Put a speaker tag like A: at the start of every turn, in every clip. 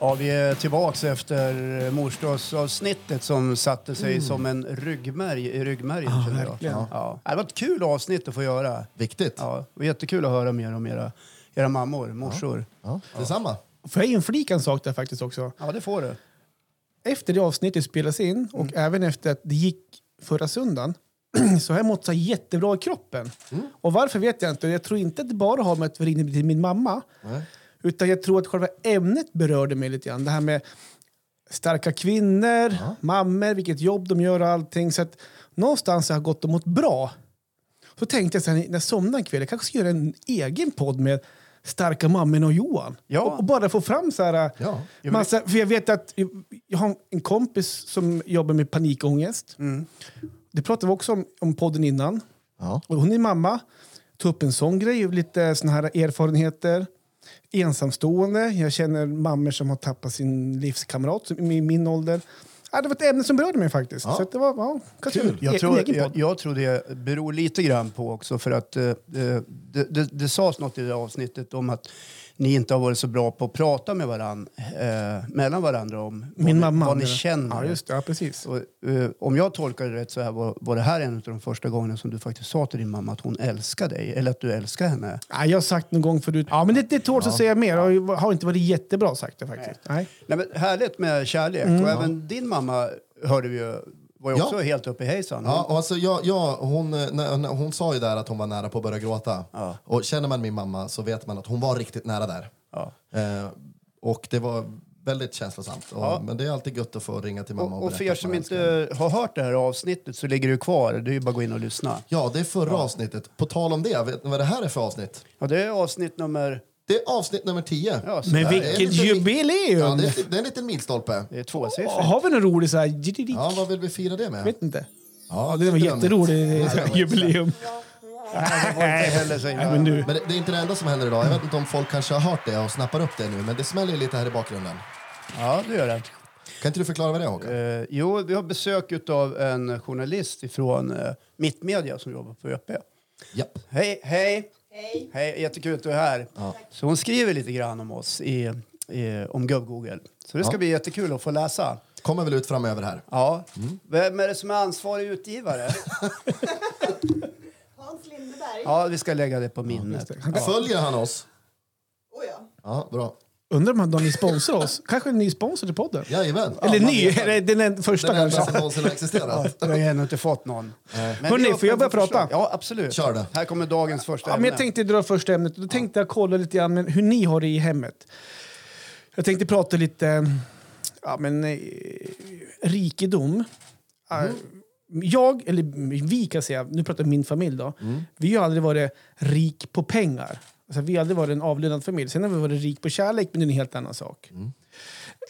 A: Ja, vi är tillbaks efter morsdagsavsnittet som satte sig som en ryggmärg i ryggmärgen.
B: Mm. Ja,
A: känner jag.
B: verkligen.
A: Ja. Det var ett kul avsnitt att få göra.
C: Viktigt. Ja.
A: Ja, det var jättekul att höra mer om era, era mammor, morsor.
C: Detsamma.
B: Får jag inflika en sak där faktiskt också?
A: Ja, det får
B: E-
A: du.
B: Efter det avsnittet spelades in och även efter att det gick förra söndagen så har jag mått så här jättebra i kroppen. Och varför vet jag inte. Jag tror inte att det bara har med att vara inne till min mamma.
C: Nej.
B: Utan jag tror att själva ämnet berörde mig lite grann. Det här med starka kvinnor, mammor, vilket jobb de gör och allting. Så att någonstans har jag gått och mått bra. Så tänkte jag sen när jag somnade en kväll, jag kanske ska göra en egen podd med starka mammorna och Johan.
A: Ja.
B: Och, och bara få fram så här...
C: Ja.
A: men-
B: Massa, för jag vet att jag har en kompis som jobbar med panikångest.
A: Mm.
B: Det pratade vi också om, om podden innan.
C: Ja.
B: Och hon är mamma. Tog upp en sån grej, lite såna här erfarenheter. Ensamstående. Jag känner mammor som har tappat sin livskamrat som- i min ålder. Ja, det var ett ämne som berörde mig faktiskt.
C: Ja.
B: Så att det var ja, kanske
C: Kul.
B: en
A: Jag
B: e-
A: tror,
B: egen
A: jag,
B: podd.
A: jag tror det beror lite grann på också för att eh, eh, det, det, det sades något i det avsnittet om att ni inte har varit så bra på att prata med varandra, eh, mellan varandra om vad
B: Min
A: ni,
B: mamma.
A: vad ni
B: hade det.
A: känner.
B: Ja, just det. Ja, precis.
A: Och, eh, om jag tolkar det rätt så här var, var det här en av de första gångerna som du faktiskt sa till din mamma att hon älskar dig, eller att du älskar henne.
B: Ja, jag har sagt någon gång förut. Ja, men det, det tål att säga mer. Jag har inte varit jättebra sagt det faktiskt. Nej.
A: Nej, men härligt med kärlek. Och även din mamma hörde vi ju, var ju
C: Mm, Ja.
A: också helt uppe i hejsan.
C: Ja, och alltså jag, jag, hon, eh, när, när, hon sa ju där att hon var nära på att börja gråta.
A: Ja.
C: Och känner man min mamma så vet man att hon var riktigt nära där.
A: Ja.
C: Eh, och det var väldigt känslosamt. Och, Men det är alltid gött att få ringa till mamma och,
A: Och, och för
C: berätta
A: er
C: att
A: som
C: man älskar henne.
A: inte har hört det här avsnittet så ligger det ju kvar. Det är ju bara att gå in och lyssna.
C: Ja, det är förra avsnittet. På tal om det, vet ni vad det här är för avsnitt?
A: Ja, det är avsnitt nummer...
C: Det är avsnitt nummer 10.
A: Ja, så
B: Men
A: där.
C: vilken-
B: vilket jubileum!
C: Ja, det, är, det är en liten milstolpe.
A: Det är tvåsiffrigt.
B: Har vi någon rolig så här...
C: Ja, vad vill vi fira det
B: Jag
C: med?
B: vet inte.
C: Ja,
B: Det var
C: lite dumt.
B: jätterolig så här jubileum.
A: Det var inte heller så illa.
B: Men du,
C: Men det, det är inte det enda som händer idag. Jag vet inte om folk kanske har hört det och snappar upp det nu, men det smäller ju lite här i bakgrunden.
A: Ja, det gör det.
C: Kan inte du förklara vad det är, Håkan?
A: Eh, jo, vi har besök av en journalist från uh, Mittmedia som jobbar på ÖP.
C: Japp.
A: Hej, hej! Hej! Hej, jättekul att du är här. Så hon skriver lite grann om oss i, i, om Gubb-Google. Så det ska
C: Ja.
A: bli jättekul att få läsa.
C: Kommer väl ut framöver här.
A: Ja. Mm. Vem är det som är ansvarig utgivare?
D: Hans Lindeberg.
A: ja, vi ska lägga det på minnet.
C: Följer han oss?
D: Oh, ja.
C: Ja, bra.
B: undrar om han- om ni sponsrar oss? Kanske en ny sponsor till podden?
C: Jajamän.
B: Eller
C: man
B: ny,
C: vet
B: eller den en-
C: Den
B: första
C: enda som
B: kanske.
C: någonsin har existerat.
A: Jag har ju ännu inte fått någon. Men
B: Hörrni,
A: vi har
B: får jag börja
A: fått förslag.
B: prata?
A: Ja, absolut.
C: Kör det.
A: Här kommer dagens första
B: Ja, men jag tänkte dra första ämnet. Då tänkte jag kolla lite grann men hur ni har det i hemmet. Jag tänkte prata lite ja, men, eh, rikedom. Eh, Jag, eller vi kan säga, nu pratar jag om min familj då. Vi har aldrig varit rik på pengar. Alltså, vi har aldrig varit en avlönad familj. Sen har vi varit rik på kärlek, men det är en helt annan sak.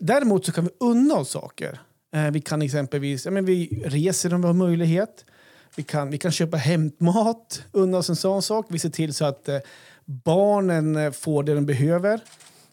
B: Däremot så kan vi unna oss saker. Eh, vi kan exempelvis ja, men vi reser om vi har möjlighet. Vi kan, vi kan köpa hämtmat, unna oss en sån sak. Vi ser till så att eh, barnen eh, får det de behöver.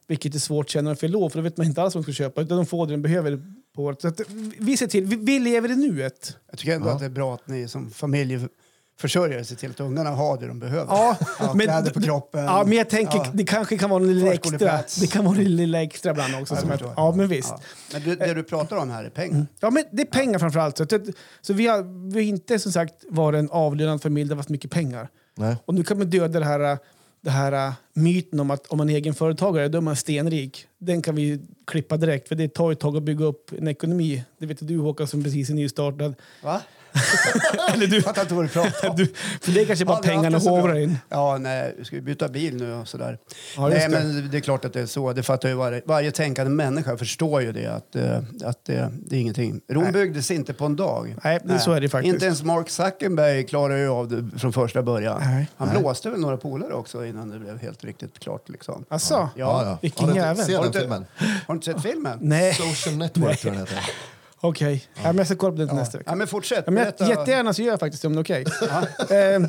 B: Vilket är svårt känner de för lov, för då vet man inte alls vad de ska köpa. Utan de får det de behöver. På året. Så att, eh, vi ser till, vi, vi lever i nuet.
A: Jag tycker ändå att det är bra att ni som familjeförsörjare ser till att ungarna har det de behöver.
B: Ja, men-
A: kläder på kroppen.
B: Ja, men jag tänker,
A: Ja.
B: det kanske kan vara en lilla extra.
A: Förskoleplats.
B: Det kan vara en lilla extra ibland också.
A: Ja,
B: som
A: jag
B: att,
A: förstår.
B: ja men visst. Mm.
A: Ja. Men du, det du pratar om här är pengar.
B: Ja, men det är pengar framför allt. Så, att, så vi, har, vi har inte som sagt varit en avlönad familj där det har varit mycket pengar.
C: Nej.
B: Och nu kan man döda det här, det här äh, myten om att om man är egen företagare då är man stenrik. Den kan vi klippa direkt för det tar ett tag att bygga upp en ekonomi. Det vet du Håkan som precis är nystartad.
A: Va?
B: Eller du,
A: Jag fattar inte vad du pratar om.
B: du för det är kanske bara
A: Aldrig haft
B: pengarna
A: det så bra.
B: hovrar in.
A: Ja, nej, ska vi byta bil nu och sådär.
B: Ja, just
A: nej,
B: det.
A: men det är klart att det är så. Det fattar ju varje, varje tänkande människa förstår ju det, att, eh, att det, det är ingenting. Rom byggdes inte på en dag.
B: Nej, det- så är det faktiskt.
A: Inte ens Mark Zuckerberg klarade ju av det från första början.
B: Nej.
A: Han blåste väl några polare också innan det blev helt riktigt klart liksom.
B: Alltså,
A: Ja,
B: vilken
C: Har du inte-
B: jävel.
C: Se
A: Har du
C: den
A: inte-
C: filmen.
A: Har du inte sett filmen?
B: nej,
C: Social Network tror jag den heter.
B: okej. Ja. men jag ska kolla på det till nästa vecka.
A: Ja, men fortsätt.
B: Ja, men
A: berätta.
B: jag, jättegärna så gör jag faktiskt det om det är okej. Ehm,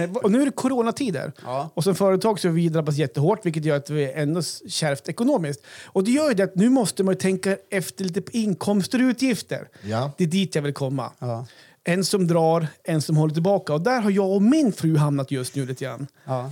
B: ehm, och nu är det coronatider.
A: Ja.
B: Och som företag så har vi drabbats jättehårt vilket gör att vi är ändå kärvt ekonomiskt. Och det gör ju det att nu måste man ju tänka efter lite på inkomster och utgifter.
C: Ja.
B: Det är dit jag vill komma.
A: Ja.
B: En som drar, en som håller tillbaka. Och där har jag och min fru hamnat just nu lite grann.
A: Ja.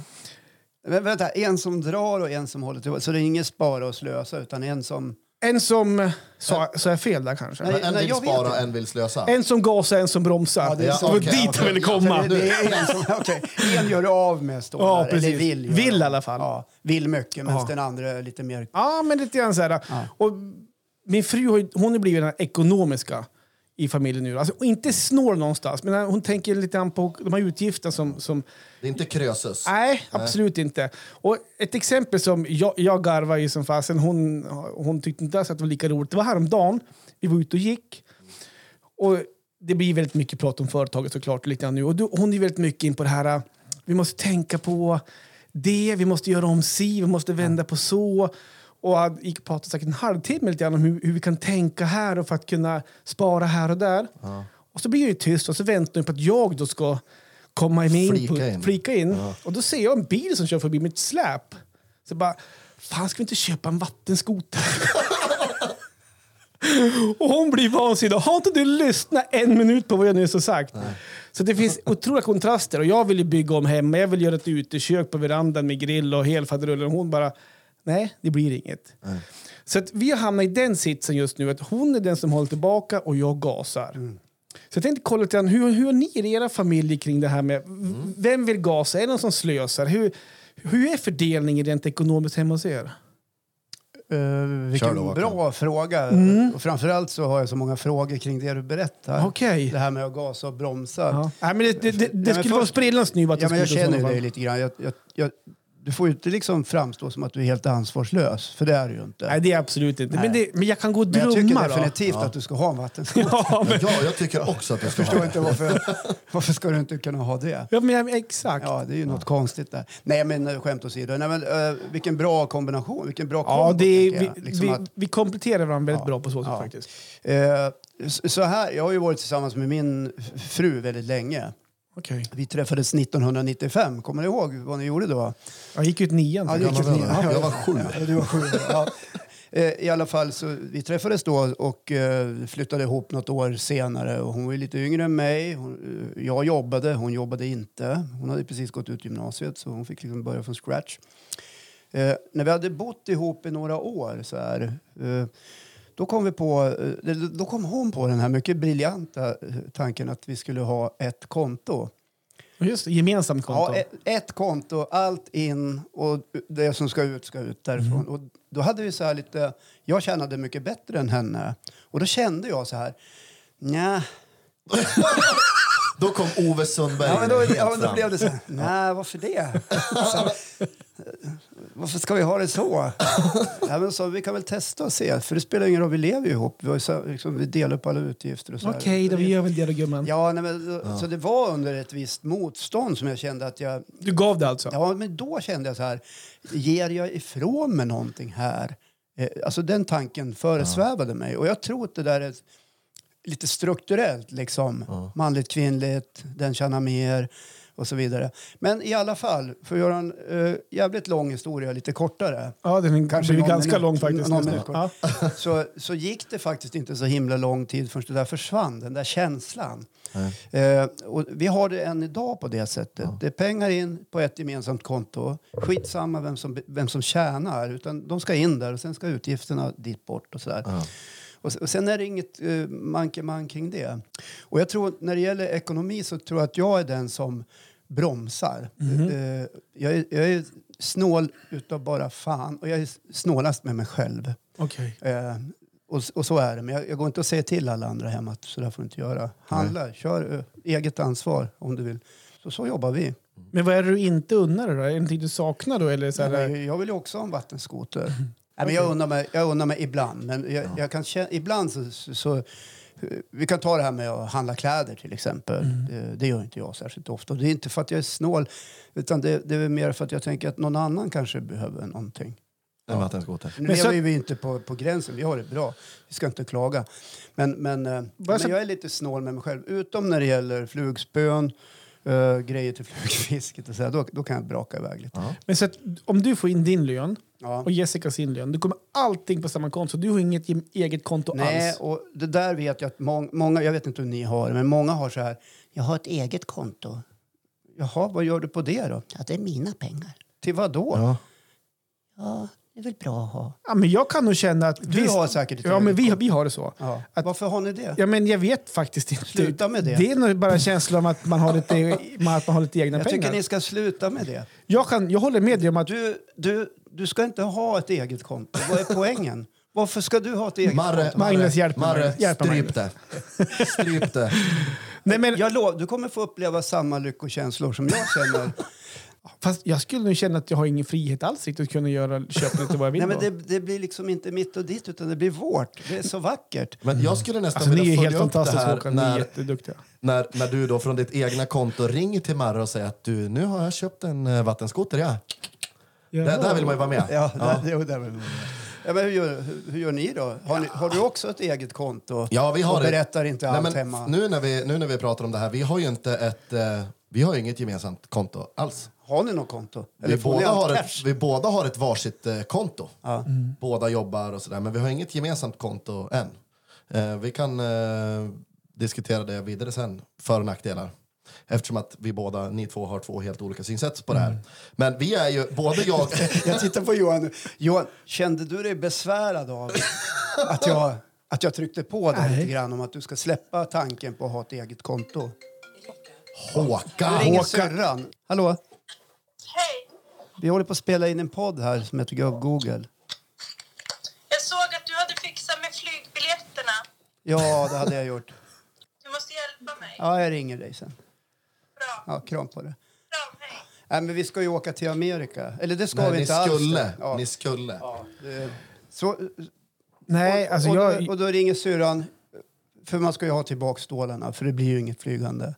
A: Men vänta, en som drar och en som håller tillbaka. Så det är inget spara och slösa utan en som...
B: En som... eh, Sa, sa jag fel där kanske?
A: Nej.
C: En vill
A: jag vet
C: spara,
A: inte.
C: en vill slösa.
B: En som gasar, en som bromsar.
A: Ja,
B: det,
A: det är sant.
B: var
C: Okej,
B: dit jag
C: okej.
B: ville
A: Så
B: komma.
A: Alltså, det, det är en, som okay. en gör av med stålar.
B: Ja,
A: Eller
B: precis.
A: vill. göra
B: Vill i
A: av.
B: alla fall.
A: Ja, vill mycket medan
B: Ja.
A: den andra är lite mer...
B: Ja, men lite grann så här. Och min fru har, ju- hon har blivit den här ekonomiska i familjen nu. Alltså, och inte snår någonstans, men hon tänker lite grann på de här utgifterna som... som
C: Det är inte krösus.
B: nej, absolut inte. Och ett exempel som jag, jag garvar ju som fasen, hon, hon tyckte inte alls att det var lika roligt. Det var häromdagen, vi var ute och gick. Och det blir väldigt mycket prat om företaget såklart. Lite grann nu. Och då, hon är väldigt mycket in på det här, äh, vi måste tänka på det, vi måste göra om si, vi måste vända på så. Och han gick och pratade säkert en halvtimme lite grann om hur, hur vi kan tänka här och för att kunna spara här och där. Och så blir jag ju tyst och så väntar jag på att jag då ska komma med in
C: Flika
B: på,
C: in.
B: flika in. Och då ser jag en bil som kör förbi mitt släp. Så jag bara, fan ska vi inte köpa en vattenskoter? Och hon blir vansinnig. Har inte du lyssnat en minut på vad jag nyss har sagt? Så det finns otroliga kontraster. Och jag vill ju bygga om hemma. Jag vill göra ett utekök på verandan med grill och helfaderullen. Och hon bara, nej, det blir inget. Så att vi har hamnat i den sitsen just nu att hon är den som håller tillbaka och jag gasar. Så jag tänkte kolla lite grann, hur, hur har ni i era familjer kring det här med vem vill gasa? Är det någon som slösar? Hur, hur är fördelningen rent ekonomiskt hemma hos er?
A: Uh,
C: Kör då,
A: vilken
C: Håkan.
A: bra fråga. Och framförallt så har jag så många frågor kring det du berättar.
B: Mm. Okej.
A: Det här med att gasa och bromsa.
B: Ja. Nej, men det det, det, det
A: men
B: skulle
A: först-
B: vara sprillans nu att
A: Ja, men jag
B: skulle
A: känner
B: i
A: ju
B: så fall.
A: dig lite grann. Jag, jag, jag, du får ju inte liksom framstå som att du är helt ansvarslös, för det är du ju inte.
B: Nej, det är absolut inte. Men, det, men jag kan gå och
A: men jag tycker
B: drömma då.
A: definitivt att du ska ha en vattenskoter.
B: Ja, men,
C: Ja, jag tycker också att du ska
A: Jag förstår
C: ha
A: inte varför, varför ska du inte kunna ha det?
B: ja, men jag- exakt. Ja,
A: Ja, det är ju något konstigt där. Nej, men eh, skämt åsido. Nej, men, eh, vilken bra kombination. Vilken bra kombo,
B: det är,
A: tänker
B: vi,
A: jag. liksom
B: vi,
A: att,
B: vi kompletterar varandra väldigt
A: Ja.
B: bra på så sätt
A: Ja.
B: faktiskt.
A: eh, s- så här, jag har ju varit tillsammans med min f- fru väldigt länge.
B: Okej.
A: Vi träffades 1995. Kommer du ihåg vad ni gjorde då?
B: Jag gick ut nian.
A: Ja,
B: så.
A: det gick
C: gammal
A: ju
C: var
A: till-
C: du? Jag var sju.
A: Ja, du var sju. Ja. Eh, I alla fall, så vi träffades då och eh, flyttade ihop något år senare. Och hon var ju lite yngre än mig. Hon, eh, jag jobbade, hon jobbade inte. Hon hade precis gått ut gymnasiet så hon fick liksom börja från scratch. Eh, när vi hade bott ihop i några år så här, eh, då, kom vi på, eh, då kom hon på den här mycket briljanta eh, tanken att vi skulle ha ett konto.
B: Och Just det, gemensamt konto.
A: Ja, ett, ett konto, allt in och det som ska ut ska ut därifrån.
B: Mm.
A: Och då hade vi så här lite, jag tjänade mycket bättre än henne och då kände jag så här, nja.
C: Då kom Ove Sundberg
A: Ja, men då,
C: helt
A: ja, men då
C: fram.
A: blev det så här, nej varför det? Så, varför ska vi ha det så? Ja, men så? Vi kan väl testa och se, för det spelar ingen roll, vi lever ju ihop. Vi, har ju så, liksom, vi delar upp alla utgifter och så här.
B: Okej, då vi gör väl det då gumman.
A: Ja, nej, men, då- så det var under ett visst motstånd som jag kände att jag
B: Du gav det alltså?
A: Ja, men då kände jag så här, ger jag ifrån mig någonting här? Eh, Alltså den tanken föresvävade mig och jag tror att det där är lite strukturellt liksom. Manligt, kvinnligt, den tjänar mer och så vidare. Men i alla fall, för att göra en eh, jävligt lång historia lite kortare.
B: Ja, den
A: Kanske
B: blir
A: någon
B: ganska
A: minut.
B: lång faktiskt.
A: Någon
B: nästan.
A: minut kort.
B: ja.
A: så, så gick det faktiskt inte så himla lång tid förrän det där försvann, den där känslan. Eh, och vi har det än idag på det sättet. Det är pengar in på ett gemensamt konto. Skitsamma vem som, vem som tjänar, utan de ska in där och sen ska utgifterna dit bort och sådär. Och, s- och sen är det inget eh, mankemang kring det. Och jag tror, när det gäller ekonomi så tror jag att jag är den som bromsar. Eh, jag, är, jag är snål utav bara fan och jag är snålast med mig själv.
B: Okej.
A: Eh, och, och så är det. Men jag, jag går inte och säger till alla andra hemma att så där får du inte göra. Handla, kör eh, eget ansvar om du vill. Så, så jobbar vi.
B: Men vad är det du inte unnar dig då? Är det någonting du saknar då? Eller så här,
A: Jag, jag vill ju också ha en vattenskoter. Nej, men jag, undrar mig, jag undrar mig ibland. Men jag, jag kan känna, ibland så, så, så... Vi kan ta det här med att handla kläder till exempel. Det, det gör inte jag särskilt ofta. Och det är inte för att jag är snål utan det, det är väl mer för att jag tänker att någon annan kanske behöver någonting.
C: En vattenskoter.
A: Nu
B: Men så-
A: lever ju vi inte på, på gränsen, vi har det bra. Vi ska inte klaga. Men, men, eh, men
B: så-
A: jag är lite snål med mig själv, utom när det gäller flugspön, eh, grejer till flugfisket och så här, då, då kan jag braka iväg lite.
B: Men så att, om du får in din lön
A: Ja.
B: och Jessica sin lön, då kommer allting på samma konto. Du har inget gem- eget konto
A: Nej,
B: alls.
A: och det där vet jag att mång, många, jag vet inte hur ni har det, men många har så här, jag har ett eget konto. Jaha, vad gör du på det då? Ja, det är mina pengar. Till vad då? Ja.
C: Ja.
A: det är väl bra att ha.
B: Ja, men jag kan nog känna att...
A: Du har säkert ett
B: Ja, men vi,
A: överskott.
B: vi har det så.
A: Ja.
B: Att-
A: Varför har ni det?
B: Ja, men jag vet faktiskt inte.
A: Sluta med det.
B: Det är nog bara känslan om att man har lite, att man har lite egna
A: Jag
B: pengar.
A: tycker ni ska sluta med det.
B: Jag, kan, jag håller med dig om att...
A: Du, du, du ska inte ha ett eget konto. Vad är poängen? Varför ska du ha ett eget
C: Marre,
A: konto?
B: Magnus,
C: Marre,
B: hjälp mig,
C: Marre,
B: Magnus. Hjälp mig,
C: stryp det. Stryp det.
B: Nej, men,
A: Jag lov, du kommer få uppleva samma lyckokänslor som jag känner.
B: Fast jag skulle nog känna att jag har ingen frihet alls riktigt att kunna göra, köpa lite vad jag vill.
A: Nej, men
B: då.
A: det, det blir liksom inte mitt och ditt, utan det blir vårt. Det är så vackert.
C: Men jag skulle nästan
B: alltså, ni
C: vilja
B: är
C: följa
B: helt
C: upp det
B: fantastiska,
C: här
B: Håkan. Ni är
C: när,
B: jätteduktiga.
C: när, när du då från ditt egna konto ringer till Marre och säger att du, nu har jag köpt en eh, vattenskoter. Ja. Där, där vill man ju vara med.
A: Ja, Det, jo, det är väl ja, men hur, gör, hur, hur gör ni då? Har, ni, har du också ett eget konto?
C: Ja, vi har
A: och
C: det.
A: berättar inte
C: Nej,
A: allt
C: men
A: hemma?
C: Nu när, vi, nu när vi pratar om det här, vi har ju inte ett, eh, vi har ju inget gemensamt konto alls.
A: Har ni något konto?
C: Vi
A: får ni
C: båda,
A: allt
C: har
A: cash?
C: ett, vi båda har ett varsitt eh, konto.
A: Ja.
C: Båda jobbar och sådär, men vi har inget gemensamt konto än. Eh, vi kan eh, diskutera det vidare sen, för och nackdelar. Eftersom att vi båda, ni två har två helt olika synsätt på det här. Men vi är ju, både jag...
A: Jag tittar på Johan nu. Johan, kände du dig besvärad av att jag, att jag tryckte på dig lite grann om att du ska släppa tanken på att ha ett eget konto? Nu
C: Håkan!
A: ringer syrran. Hallå?
E: Hej!
A: Vi håller på att spela in en podd här som heter Gubb Google.
E: Jag såg att du hade fixat med flygbiljetterna.
A: Ja, det hade jag gjort.
E: Du måste hjälpa mig.
A: Ja, jag ringer dig sen.
E: Bra.
A: Ja, kram på dig.
E: Kram, hej.
A: Nej, men vi ska ju åka till Amerika. Eller det ska
C: Nej,
A: vi
C: ni
A: inte
C: skulle,
A: alls. Ja.
C: ni skulle.
A: Ja, det- Så,
B: Nej, alltså
A: och,
B: jag...
A: och då ringer syrran, för man ska ju ha tillbaka stålarna för det blir ju inget flygande.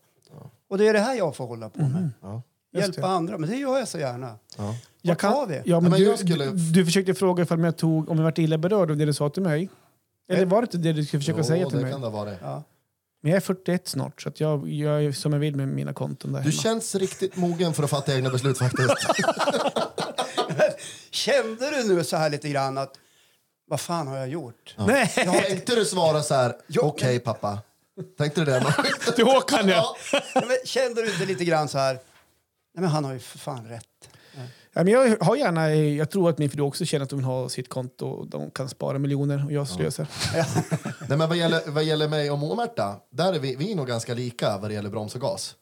A: Och det är det här jag får hålla på med.
C: Ja.
B: Mm. Just
A: Hjälpa
B: det.
A: andra, men det gör jag så gärna.
C: Ja.
A: Vart
B: Jag kan,
A: var vi?
B: Ja, men
C: men
B: du,
C: jag skulle-
B: du försökte fråga ifall jag tog, om jag varit illa berörd av det du sa till mig. Eller var det inte det du skulle försöka
C: Jo,
B: säga till
C: det
B: mig?
C: kan det vara det.
A: Ja.
B: Men jag är 41 snart, så att jag gör ju som jag vill med mina konton där
C: Du
B: hemma.
C: känns riktigt mogen för att fatta egna beslut faktiskt.
A: Kände du nu så här lite grann att vad fan har jag gjort?
B: Nej!
C: Tänkte du svara så här, okej pappa. Tänkte du det?
B: Till Håkan, ja.
A: Ja, men kände du inte lite grann så här, nej men han har ju för fan rätt.
B: ja men jag, har gärna, jag tror att min fru också känner att de vill ha sitt konto och de kan spara miljoner och jag slösar.
C: Nej, men vad, gäller, vad gäller mig och Märta, där är vi, vi är nog ganska lika vad det gäller broms och gas.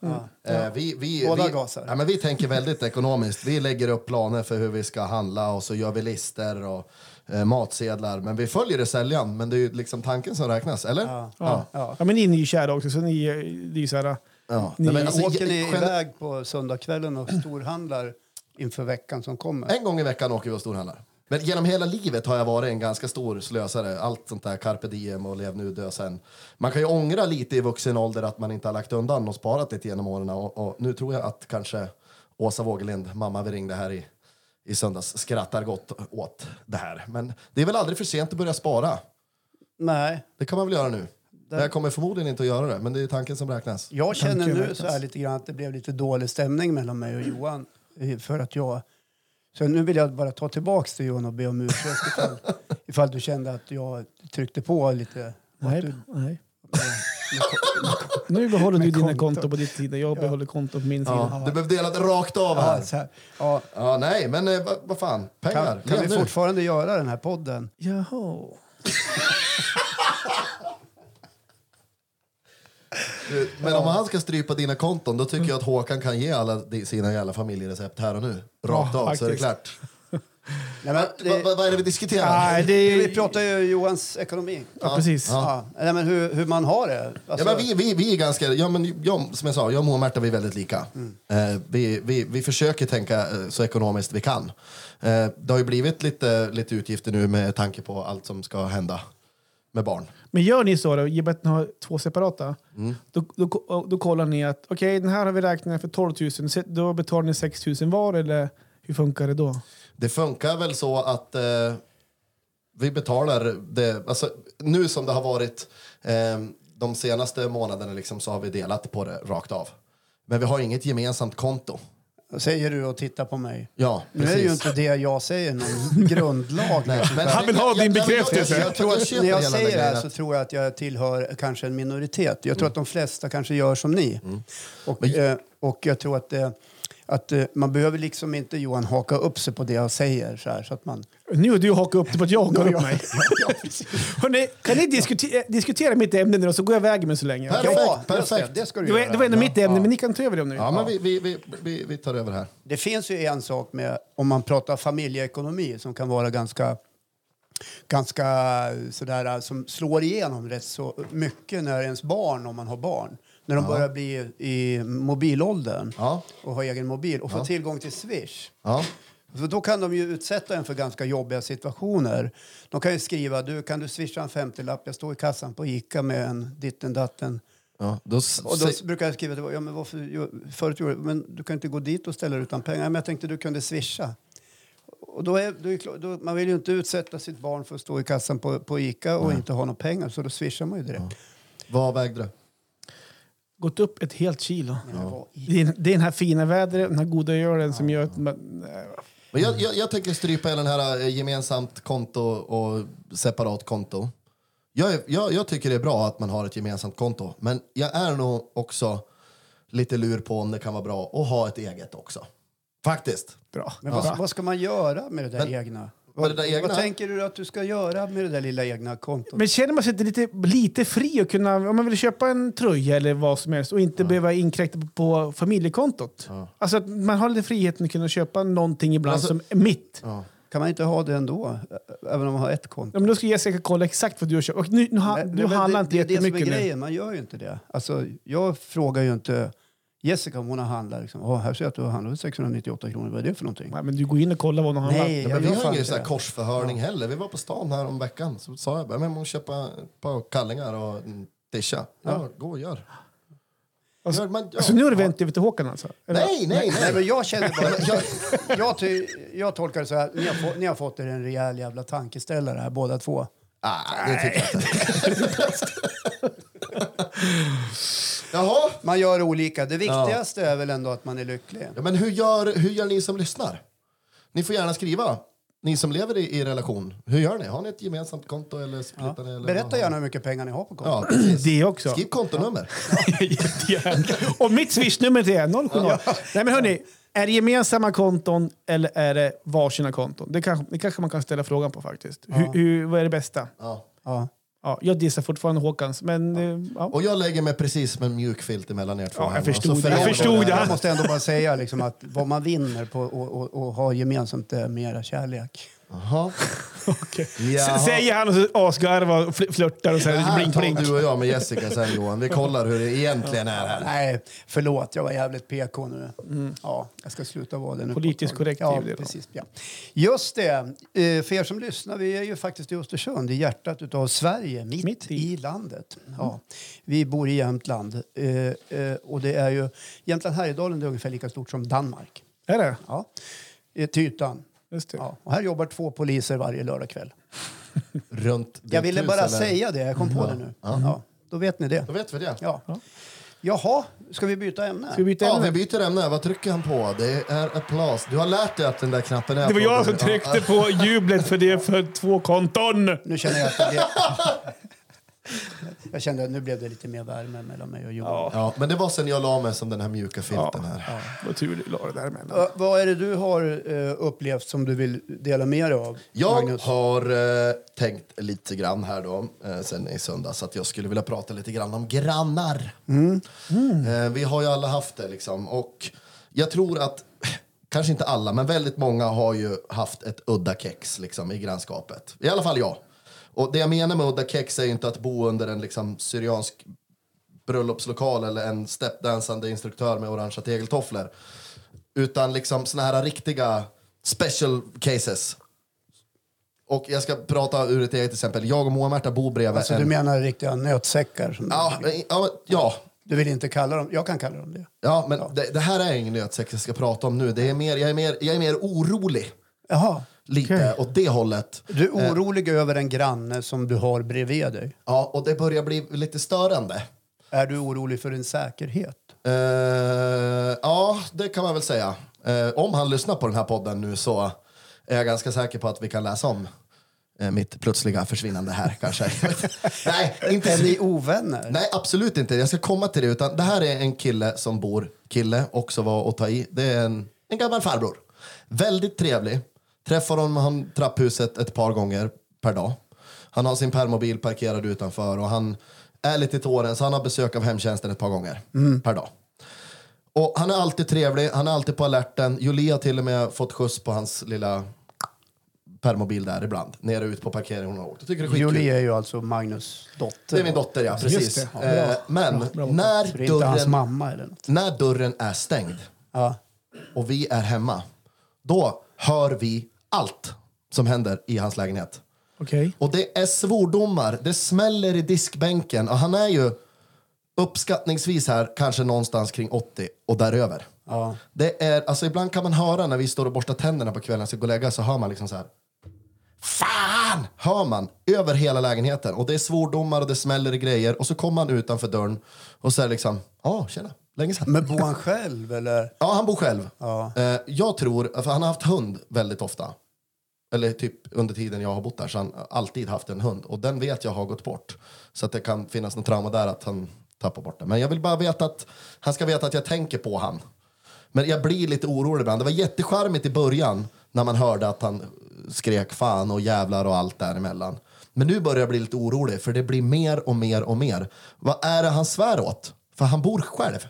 C: Eh, vi, vi,
A: Båda
C: vi,
A: gasar.
C: Nej, men vi tänker väldigt ekonomiskt. Vi lägger upp planer för hur vi ska handla och så gör vi lister och eh, matsedlar. Men vi följer det sällan, men det är ju liksom tanken som räknas, eller? Ja.
B: Ja. Ja. men ni är ju kära också, så ni, det är ju så här...
C: Nej,
A: Men
C: men alltså,
A: åker ni
C: gen-
A: iväg på söndagskvällen och storhandlar inför veckan som kommer?
C: En gång i veckan åker vi och storhandlar. Men genom hela livet har jag varit en ganska stor slösare. Allt sånt där carpe diem och lev nu, dö sen. Man kan ju ångra lite i vuxen ålder att man inte har lagt undan och sparat lite genom åren. Och, och nu tror jag att kanske Åsa Wågelind, mamma vi ringde här i, i söndags, skrattar gott åt det här. Men det är väl aldrig för sent att börja spara.
A: Nej,
C: Det kan man väl göra nu. Jag kommer förmodligen inte att göra det, men det är tanken som räknas.
A: jag känner
B: Tanken
A: nu
B: verkar
A: så här lite grann att det blev lite dålig stämning mellan mig och Johan. eh, För att jag... Så nu vill jag bara ta tillbaka till Johan och be om ursäkt ifall, ifall du kände att jag tryckte på lite. och att
B: Nej,
A: du-
B: nej. Nu behåller du dina konton på din sida, jag behåller konton på min sida.
C: Ja, du behövde dela det rakt av
A: Ja,
C: här.
A: så här. Ja,
C: Ja, nej, men eh, vad vad fan. Pengar.
A: kan, kan vi
C: Lev nu.
A: fortfarande göra den här podden?
B: Jaha.
C: Du, Eh, men om han ska strypa dina konton då tycker jag att Håkan kan ge alla di- sina jävla familjerecept här och nu. Rakt
B: Ja,
C: av så är det
B: faktiskt.
C: klart.
A: Nej, men
C: Va- va-
A: det,
C: vad är det vi diskuterar?
B: Nej, det är...
A: vi pratar ju Johans ekonomi.
B: Ja, precis.
A: Ja. Nej, men hur, hur man har det.
C: Ja,
A: Alltså,
C: men vi, vi, vi är ganska, ja, men jag, som jag sa, jag och Märta vi är väldigt lika.
B: Mm.
C: Eh, vi, vi, vi försöker tänka eh, så ekonomiskt vi kan. Eh, det har ju blivit lite, lite utgifter nu med tanke på allt som ska hända med barn.
B: Men gör ni så då, i och med att ni har två separata,
A: Mm.
B: då, då, ko- då kollar ni att okej, den här har vi räknat för 12 000, så då betalar ni 6 000 var eller hur funkar det då?
C: Det funkar väl så att eh, vi betalar det. Alltså, nu som det har varit eh, de senaste månaderna liksom, så har vi delat på det rakt av. Men vi har inget gemensamt konto.
A: Säger du och tittar på mig.
C: Ja,
A: Nu är ju inte det jag säger någon grundlag.
C: Nej, men-
B: Han vill ha din
C: jag- jag-
B: bekräftelse.
C: Jag, jag, jag tror jag köper
A: När jag
C: hela
A: säger
C: den
A: det här
C: grejen
A: så
C: att- Mm.
A: tror jag att jag tillhör kanske en minoritet. Jag tror att de flesta kanske gör som ni. Och, eh, och jag tror att det, att eh, man behöver liksom inte Johan haka upp sig på det jag säger så här så att man...
B: Nu har du hakat upp det på att jag hakar
A: Ja,
B: upp mig. Hörrni, kan ni diskutera, diskutera mitt ämne nu då, så går jag iväg med så länge?
C: Per-
B: Det
C: Perfekt,
A: just
C: perfekt.
A: Det, det ska du
B: var,
A: göra.
B: det var ändå mitt ämne,
A: Ja.
B: men ni kan ta över det om ni vill.
C: Ja, men vi, vi, vi, vi, vi tar över här.
A: Det finns ju en sak med om man pratar familjeekonomi som kan vara ganska ganska eh, sådär som slår igenom rätt så mycket när ens barn, om man har barn, när de börjar bli i mobilåldern
C: Ja.
A: och har egen mobil och får tillgång till Swish.
C: Ja.
A: För då kan de ju utsätta en för ganska jobbiga situationer. De kan ju skriva du kan du swisha en 50-lapp, jag står i kassan på Ica med en ditten datten.
C: Ja, då, s-
A: Och då
C: se-
A: brukar jag skriva ja, men varför, gör- förut gjorde jag, men du kan inte gå dit och ställa dig utan pengar. Ja, Men jag tänkte du kunde swisha. Och då är, då är, det klart- då, man vill ju inte utsätta sitt barn för att stå i kassan på, på Ica och inte ha några pengar så då swishar man ju direkt.
C: vad vägde du?
B: Gått upp ett helt kilo.
A: Men vad i-
B: Det är, det är den här fina vädret, den här goda ölen som gör att man...
C: Men jag, jag, jag tänker strypa hela den här eh, gemensamt konto och separat konto. Jag, är- jag, jag tycker det är bra att man har ett gemensamt konto, men jag är nog också lite lur på om det kan vara bra att ha ett eget också. Faktiskt.
B: Bra.
A: Men vad, vad ska man göra med det där
C: Men-
A: egna?
C: med det där egna-
A: Vad tänker du att du ska göra med det där lilla egna kontot?
B: Men känner man sig inte lite, lite fri att kunna, om man vill köpa en tröja eller vad som helst och inte behöva inkräkta på, på familjekontot? Alltså att man har lite friheten att kunna köpa någonting ibland
C: Alltså-
B: som är mitt. Ja.
A: Kan man inte ha det ändå? Ä- Även om man har ett konto?
B: men då ska Jessica kolla exakt vad du har köpt. Och nu, nu, ha-
A: Nej,
B: du
A: men
B: handlar Ah, inte
A: det, det är det som är
B: jättemycket nu.
A: grejen, man gör ju inte det. Alltså, jag frågar ju inte Jessica om hon har handlat. Liksom. "Åh, här ser jag att du har handlat för 698 kronor, vad är det för någonting?
B: Nej, men du går in och kollar vad hon har handlat.
A: Nej,
C: men
A: jag
C: vi
A: gör
C: har
A: fan
C: ingen
A: inte
C: så här
A: det.
C: korsförhörning heller. Vi var på stan här om veckan så sa jag bara, men jag måste köpa ett par kallingar och en tischa. Ja, gå och gör.
B: Alltså-
C: Gör man- ja.
B: Alltså nu har du vänt över till Håkan alltså? Eller?
C: Nej, nej,
A: Nej,
C: nej.
A: men jag känner bara... Jag, jag, ty, jag tolkar det så här, ni har, få, ni har fått er en rejäl jävla tankeställare här båda två.
C: Ah, det tycker jag inte. Jaha.
A: Man gör olika. Det viktigaste är väl ändå att man är lycklig.
C: Ja, men hur gör, hur gör ni som lyssnar? Ni får gärna skriva. Ni som lever i, i relation, hur gör ni? Har ni ett gemensamt konto eller splitar ni? Eller vad har
A: Berätta
C: ni?
A: gärna hur mycket pengar ni har på kontot.
C: Ja, precis.
B: Det också.
C: Skriv kontonummer.
B: Jättegärna. och mitt swishnummer till är 070. Nej men hörni, är det gemensamma konton eller är det varsina konton? Det kanske, det kanske man kan ställa frågan på faktiskt. Hur, hur, vad är det bästa?
C: Ja.
A: Ja.
B: Ja, jag dissar fortfarande Håkans, men... eh, Ja.
C: Och jag lägger mig precis som en mjuk filt emellan er två.
B: Ja, jag
C: här. Och så
B: förstod det.
C: förenar
B: Jag
C: vi
B: förstod
C: här.
B: det.
A: Jag måste ändå bara säga liksom att vad man vinner på att och, och ha gemensamt är mera kärlek.
C: Jaha.
B: okej.
C: Jaha.
B: S- Säger han och så asgarvar och fl- flörtar och
C: Det
B: säger
C: här
B: blink, blink.
C: tar du och jag med Jessica sen Johan. Vi kollar hur det egentligen är här.
A: Nej, förlåt. Jag var jävligt PK nu. Ja, jag ska sluta vara det nu.
B: Politiskt Mm. korrekt är
A: Ja,
B: det då.
A: precis. Ja. Just det. Eh, För er som lyssnar, vi är ju faktiskt i Östersund, i hjärtat av Sverige, mitt,
B: Mitt i. Mm.
A: i. landet. Ja. Vi bor i Jämtland. Eh, eh, Och det är ju... Jämtland Härjedalen det är ungefär lika stort som Danmark.
B: Är det?
A: Ja. Eh, Till ytan.
B: Just det.
A: Ja. Och här jobbar två poliser varje lördagkväll.
C: Runt ditt
A: Jag ville
C: hus,
A: bara
C: eller?
A: säga det. Jag kom på det nu. Ja. Då vet ni det.
C: Då vet vi det.
A: Ja. Jaha, ska vi byta ämne?
B: Ska vi byta
C: Ja,
B: ämne?
C: vi byter ämne. Vad trycker han på? Det är applås. Du har lärt dig att den där knappen är
B: Det var jag som
C: applåder. Ja.
B: tryckte på jublet för det för två konton.
A: Nu känner jag att det blev... Jag kände att nu blev det lite mer värme mellan mig och Johan.
C: Ja, men det var sen jag la mig som den här mjuka filten här.
B: Vad tur du la det där emellan.
A: Ö, Vad är det du har eh, upplevt som du vill dela med dig av?
C: Jag
A: Magnus?
C: har eh, tänkt lite grann här då, eh, sen i söndags att jag skulle vilja prata lite grann om grannar.
B: Mm.
C: Eh, vi har ju alla haft det liksom och jag tror att, kanske inte alla, men väldigt många har ju haft ett udda kex liksom i grannskapet. I alla fall jag. Och det jag menar med udda kex är ju inte att bo under en liksom syriansk bröllopslokal eller en steppdansande instruktör med orangea tegeltofflor. Utan liksom såna här riktiga special cases. Och jag ska prata ur ett eget exempel. Jag och Moa-Märta bor bredvid
A: Alltså,
C: en...
A: du menar riktiga nötsäckar? Som
C: Ja, men- ja, men- ja,
A: Du vill inte kalla dem... Jag kan kalla dem det.
C: ja, men Det, det här är ingen nötsex jag ska prata om nu. Det är mer, jag, är mer, jag är mer orolig
A: Jaha.
C: lite åt det hållet.
A: Du är orolig över en granne som du har bredvid dig.
C: Ja, och det börjar bli lite störande.
A: Är du orolig för din säkerhet?
C: Eh, ja, det kan man väl säga. Eh, om han lyssnar på den här podden nu så är jag ganska säker på att vi kan läsa om eh, mitt plötsliga försvinnande här kanske. Nej, inte
A: Är
C: så
A: ni ovänner?
C: Nej, absolut inte. Jag ska komma till det. Utan det här är en kille som bor, kille också var att ta i. Det är en, en gammal farbror. Väldigt trevlig. Träffar honom han trapphuset ett par gånger per dag. Han har sin permobil parkerad utanför och han är lite till åren så han har besök av hemtjänsten ett par gånger per dag. Och han är alltid trevlig, han är alltid på alerten. Julia har till och med fått skjuts på hans lilla permobil där ibland. Nere ut på parkeringen hon har åkt. Jag tycker det är skitkul.
A: Julie är ju alltså Magnus dotter.
C: Det är min dotter, ja. Precis.
B: det, ja.
C: Eh, men
A: Så
C: när,
A: det är inte hans
C: dörren,
A: mamma eller något.
C: när dörren är stängd
A: Ja.
C: och vi är hemma, då hör vi allt som händer i hans lägenhet.
B: Okej.
C: Och det är svordomar, det smäller i diskbänken och han är ju uppskattningsvis här kanske någonstans kring 80 och däröver.
A: Ja.
C: Det är, alltså ibland kan man höra när vi står och borstar tänderna på kvällen ska gå och lägga så hör man liksom så här. Fan! Hör man över hela lägenheten. Och det är svordomar och det smäller i grejer. Och så kommer han utanför dörren och säger liksom, ja tjena, länge sedan.
A: Men bor han själv eller?
C: Ja, han bor själv.
A: Ja.
C: Eh, jag tror, för han har haft hund väldigt ofta. Eller typ under tiden jag har bott där så har han alltid haft en hund. Och den vet jag har gått bort. Så att det kan finnas något trauma där att han tappar bort den. Men jag vill bara veta att han ska veta att jag tänker på han. Men jag blir lite orolig ibland. Det var jättecharmigt i början när man hörde att han skrek fan och jävlar och allt däremellan. Men nu börjar jag bli lite orolig för det blir mer och mer och mer. Vad är det han svär åt? För han bor själv.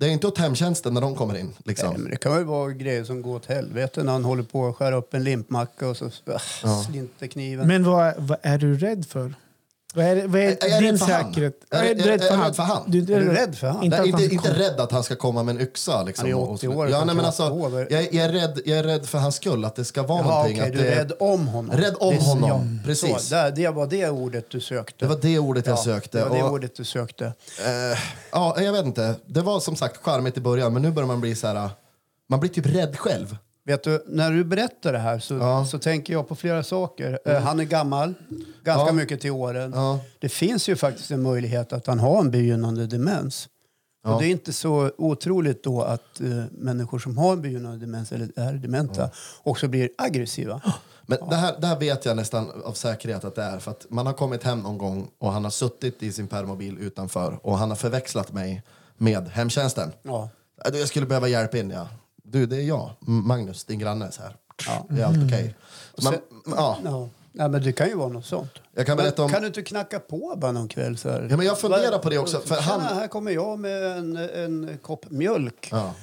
C: Det är inte åt hemtjänsten när de kommer in. Liksom.
A: Nej, men det kan väl vara grejer som går åt helvete när han håller på att skära upp en limpmacka och så ah, slinter kniven.
B: Men vad, vad är du rädd för? Vad är, vad är,
C: Är jag
B: din
C: rädd för han?
B: säkerhet?
C: Är-
B: Är
C: är-
B: du rädd
C: är
B: för
C: jag
B: han?
C: rädd för han?
B: Du,
A: Är du rädd för han?
B: Inte
C: Nej,
B: att han
C: inte,
B: ska
C: inte
B: komma.
C: rädd att han ska komma med en yxa. Liksom,
A: Han är
C: och- och
A: 80
C: slå-
A: år,
C: ja,
A: kan
C: nej, men
A: knappt
C: alltså,
A: gå över.
C: jag, jag, är rädd, jag är rädd för hans skull, att det ska vara
A: Ja,
C: någonting.
A: okej,
C: att
A: du
C: det,
A: är rädd om honom.
C: Rädd om
A: Det är så-
C: honom,
A: ja.
C: precis.
A: Så, där, det var det ordet du sökte.
C: Det var det ordet jag
A: Ja,
C: sökte.
A: Det var det
C: och,
A: ordet du sökte.
C: ja, jag vet inte. Det var som sagt charmigt i början, men nu börjar man bli så här... Man blir typ rädd själv.
A: Vet du, när du berättar det här så,
C: Ja. Mm.
A: så tänker jag på flera saker. Eh, Han är gammal, ganska
C: Ja.
A: mycket till åren.
C: Ja.
A: Det finns ju faktiskt en möjlighet att han har en begynnande demens. Och det är inte så otroligt då att eh, människor som har en begynnande demens eller är dementa också blir aggressiva.
C: Men det, här, det här vet jag nästan av säkerhet att det är. För att man har kommit hem någon gång och han har suttit i sin permobil utanför och han har förväxlat mig med hemtjänsten.
A: Ja.
C: Äh, du, Jag skulle behöva hjälp in, ja. Du, det är jag. M- Magnus, din granne. Så här. Det är allt okej. Man- Ja.
A: Ja. Nej, men det kan ju vara något sånt.
C: Jag kan
A: Men
C: berätta om-
A: Kan du inte knacka på bara någon kväll? Så här?
C: Ja, men jag funderar på det också, för
A: Tjena,
C: han-
A: här kommer jag med en, en kopp mjölk
C: Ja.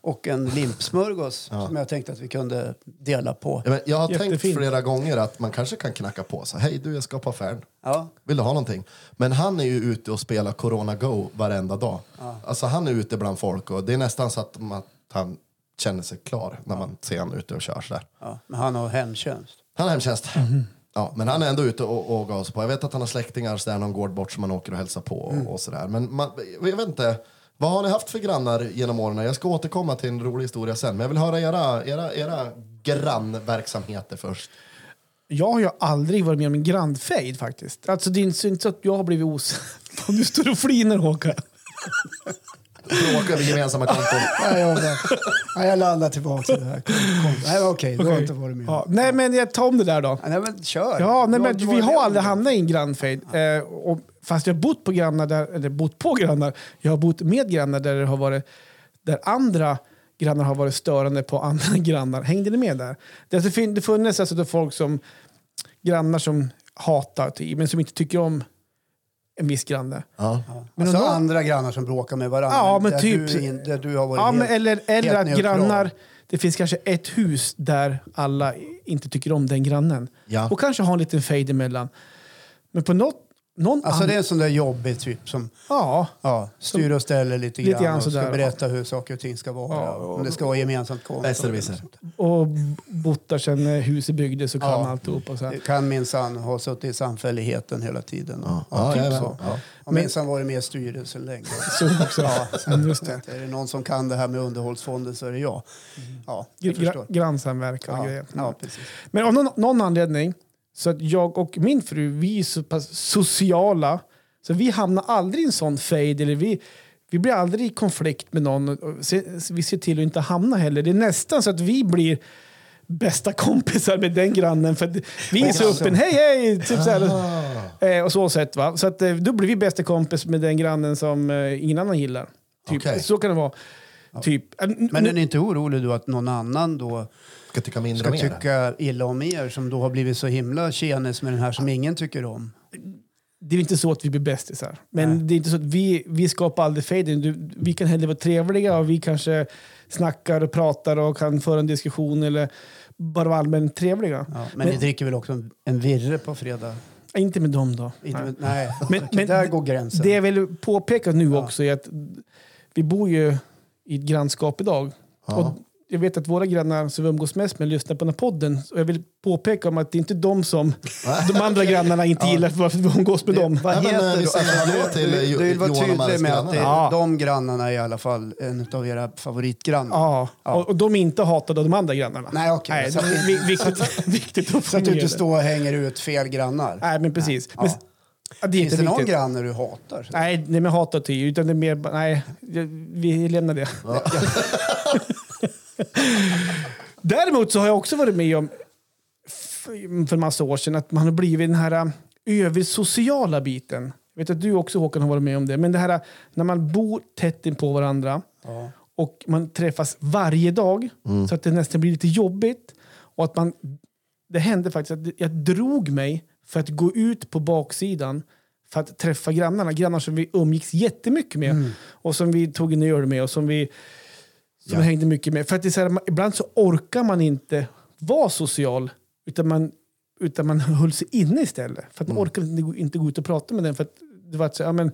A: och en limpsmörgås som jag tänkte att vi kunde dela på.
C: Ja, men Jag har
B: Jättefint.
C: tänkt flera gånger att man kanske kan knacka på. Så, Hej du, jag ska på affären.
A: Ja.
C: Vill du ha någonting? Men han är ju ute och spelar Corona Go varenda dag. Alltså han är ute bland folk och det är nästan så att man, han känner sig klar när man ser honom ute och kör så där.
A: Ja, men han har hemtjänst.
C: Han har hemtjänst. Ja, men han är ändå ute och, och gas på. Jag vet att han har släktingar så där, någon gård bort som man åker och hälsar på och, och sådär. Men man, jag vet inte. Vad har ni haft för grannar genom åren? Jag ska återkomma till en rolig historia sen. Men jag vill höra era, era, era grannverksamheter först.
B: Jag har ju aldrig varit med om en grandfejd faktiskt. Alltså det är inte så- inte så att jag har blivit osams. Du står och flinar Håkan.
C: Bråka över gemensamma konton.
A: Nej, jag, nej, jag landar tillbaka till det här. Kom, kom. Nej, men okej, du har inte varit med.
B: Ja, nej men jag tar om det där då.
A: Nej, men kör.
B: Ja, nej,
A: Du
B: men
A: inte
B: vi
A: varit med
B: har
A: om
B: aldrig
A: det.
B: hamnat i en grannfejd. Eh, och, fast jag har bott på grannar, där, eller bott på grannar, jag har bott med grannar där det har varit, där andra grannar har varit störande på andra grannar. Hängde ni med där? Det, alltså, fin- det funnits alltså då folk som, grannar som hatar, typ, men som inte tycker om en viss granne.
C: Ja.
B: Men
A: alltså
B: då-
A: andra grannar som bråkar med varandra.
B: Ja, men
A: där
B: typ-
A: Du, in- där du har varit
B: Ja, men,
A: helt-
B: eller eller
A: helt
B: att
A: neutral.
B: grannar, det finns kanske ett hus där alla inte tycker om den grannen.
C: Ja.
B: Och kanske ha en liten fejd emellan. Men på något, någon
A: Alltså
B: annan...
A: det är en sån där jobbig typ som
B: Ja.
A: ja, styr och ställer lite grann,
B: Lite grann
A: och ska
B: sådär,
A: berätta hur saker och ting ska vara.
B: Ja,
A: om det ska vara gemensamt konto.
C: Besserwisser.
B: och bott där sedan eh, huset byggdes och kan
A: Ja.
B: alltihop. Och så
A: Det
B: här.
A: kan minsann ha suttit i samfälligheten hela tiden. Ja.
C: Ja,
A: typ
C: ja,
A: så.
C: ja.
A: Har minsann varit med i styrelsen länge.
B: Så också. Mm, just det.
A: Är det någon som kan det här med underhållsfonden så är det jag. Ja, jag
B: Gra-
A: förstår.
B: grannsamverkan och
A: Ja,
B: grejer.
A: ja, precis.
B: Men av någon, någon anledning, så att jag och min fru, vi är så pass sociala, så vi hamnar aldrig i en sån fejd, eller vi, vi blir aldrig i konflikt med någon. och- och se- Vi ser till att inte hamna heller. Det är nästan så att vi blir bästa kompisar med den grannen. För att vi är så öppen. Hej, hej! Typ så här. Eh, och så sätt, va? Så att, eh, då blir vi bästa kompis med den grannen som eh, ingen annan gillar. Typ.
C: Okej.
B: Så kan det vara. Typ. Eh, n-
A: Men är ni inte orolig då att någon annan då
C: Ska tycka mindre
A: ska
C: om er.
A: tycka illa om er som då har blivit så himla tjenis med den här som ingen tycker om?
B: det är inte så att vi blir bästisar. Men det är inte så att vi, vi skapar aldrig fejden. Du- Vi kan hellre vara trevliga och vi kanske snackar och pratar och kan föra en diskussion eller bara vara allmänt trevliga.
A: Ja, men, ni dricker väl också en, en virre på fredag?
B: Inte med dem då.
A: Inte,
B: Nej.
A: nej, nej.
B: Men-
A: Okej,
B: men
A: där går gränsen.
B: Det jag vill påpeka nu också är att vi bor ju i ett grannskap idag. Och jag vet att våra grannar som vi umgås mest med lyssnar på den här podden. Och jag vill påpeka om att det är inte de som de andra grannarna inte gillar för varför vi umgås med dem.
A: Vad
C: Nej, men,
A: heter
C: eh, vi
A: då? Alltså,
C: säger hallå till, eh,
A: du, du vill vara
C: Johan och Majas
A: tydlig med att det,
C: grannar.
A: de grannarna är i alla fall en av era favoritgrannar.
B: Ja, Och, och de är inte hatade av de andra grannarna.
A: Nej, okej. Så
B: det
A: att
B: är vi- viktigt, viktigt att
A: Så att du inte
B: det.
A: står och hänger ut fel grannar.
B: Nej, men precis.
A: Ja.
B: Men, s- ja. Det är
A: Finns
B: inte
A: det någon
B: viktigt.
A: granne du hatar?
B: Nej, nej, men hatar till. Utan det är mer, bara- nej, jag- vi lämnar det. Däremot så har jag också varit med om f- för en massa år sedan att man har blivit den här ä, översociala biten. Jag vet att du också Håkan har varit med om det. Men det här ä, när man bor tätt in på varandra och man träffas varje dag så att det nästan blir lite jobbigt. Och att man, det hände faktiskt att jag drog mig för att gå ut på baksidan för att träffa grannarna. Grannar som vi umgicks jättemycket med
A: Mm.
B: och som vi tog en öl med och som vi som hängde mycket med. För att det är så här, man, ibland så orkar man inte vara social utan man, utan man höll sig inne istället.
A: Mm.
B: För att man orkar inte, gå- inte gå ut och prata med den. För att det var så, här, ja, men,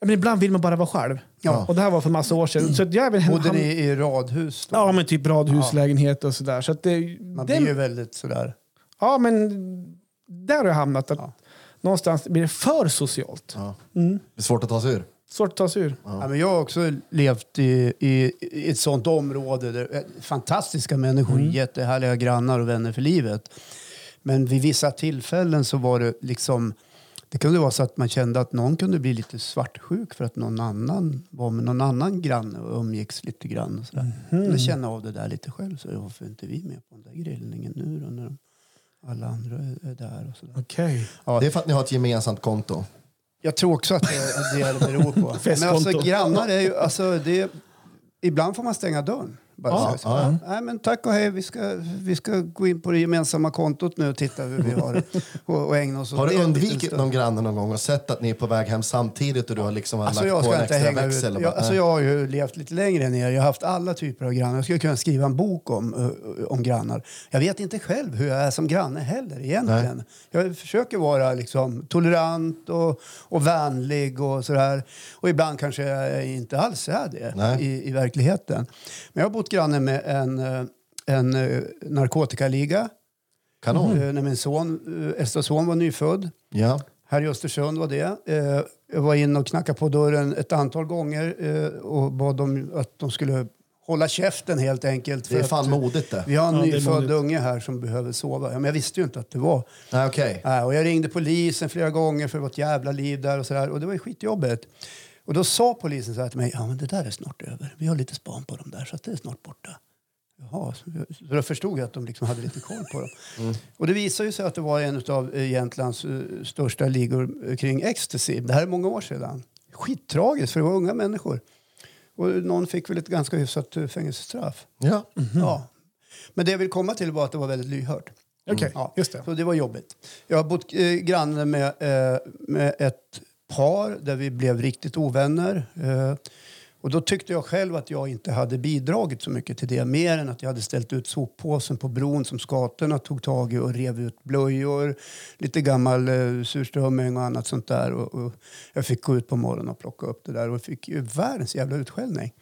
B: ja, men ibland vill man bara vara själv.
A: Ja.
B: Och det här var för massa år sedan. Så att jag även
A: Bodde ni i radhus då?
B: Ja, men typ radhuslägenhet och sådär. Så att det,
A: Man
B: den-
A: blir ju väldigt sådär.
B: Ja, men där har jag hamnat. Att Någonstans blir det för socialt.
A: Mm.
C: Det är svårt att ta sig ur.
B: Svårt att ta sig ur.
A: Ja. men jag har också levt i, i, i ett sånt område. Där, eh, fantastiska människor,
B: Mm.
A: jättehärliga grannar och vänner för livet. Men vid vissa tillfällen så var det liksom... Det kunde vara så att man kände att någon kunde bli lite svartsjuk för att någon annan var med någon annan granne och umgicks lite grann. Och sådär.
B: Mhm.
A: Mm. känna av det där lite själv. Så varför är inte vi med på den där grillningen nu då när de, alla andra är är där och sådär.
B: Okej.
A: Ja.
C: Det är för att ni har ett gemensamt konto.
A: Jag tror också att det är det det beror på. Men
B: Festkonto.
A: alltså grannar är ju, alltså det är, ibland får man stänga dörren. Bara
B: Ja,
A: så, så. Nej, men tack och hej, vi ska, vi ska gå in på det gemensamma kontot nu och titta hur vi har det. Och, och ägna oss åt
C: Har
A: det
C: du
A: en liten
C: undvikit
A: stund.
C: någon granne någon gång och sett att ni är på väg hem samtidigt och du har liksom
A: Alltså
C: lagt
A: jag
C: på en
A: ska inte
C: extra
A: hänga ut.
C: växel? och
A: Jag,
C: bara,
A: alltså
C: nej.
A: jag har ju levt lite längre ner. Jag har haft alla typer av grannar. Jag skulle kunna skriva en bok om, eh, om grannar. Jag vet inte själv hur jag är som granne heller egentligen. Jag försöker vara liksom tolerant och, och vänlig och sådär. Och ibland kanske jag inte alls är det
C: Nej.
A: i, i verkligheten. Men jag har bott granne med en, eh, en eh, narkotikaliga.
C: Kanon.
A: Eh, När min son, eh, äldsta son var nyfödd.
C: Ja.
A: Här i Östersund var det. Eh, jag var inne och knackade på dörren ett antal gånger eh, och bad dem att de skulle hålla käften helt enkelt.
C: Det är
A: att,
C: fan modigt det.
A: Vi har en
B: Ja, det är
A: nyfödd
B: modigt.
A: unge här som behöver sova. Ja, men jag visste ju inte att det var.
C: Nej, okej.
A: Nej, och jag ringde polisen flera gånger för det var ett jävla liv där och sådär. Och det var ju skitjobbigt. Och då sa polisen så här till mig, ja men det där är snart över. Vi har lite span på dem där så att det är snart borta. Jaha, så så då förstod jag att de liksom hade lite koll på dem. Och det visar ju sig att det var en av Jämtlands eh, största ligor eh, kring ecstasy. Det här är många år sedan. Skittragiskt för det var unga människor. Och någon fick väl ett ganska hyfsat eh, fängelsestraff.
C: Ja.
B: Mhm.
A: Ja. Men det jag vill komma till var att det var väldigt lyhört. Mm.
B: Okej,
A: Ja,
B: just det.
A: Så det var jobbigt. Jag har bott eh, granne med, eh, med ett par där vi blev riktigt ovänner. Eh, och då tyckte jag själv att jag inte hade bidragit så mycket till det mer än att jag hade ställt ut soppåsen på bron som skatorna tog tag i och rev ut blöjor, lite gammal eh, surströmming och annat sånt där. Och, och jag fick gå ut på morgonen och plocka upp det där och fick ju världens jävla utskällning.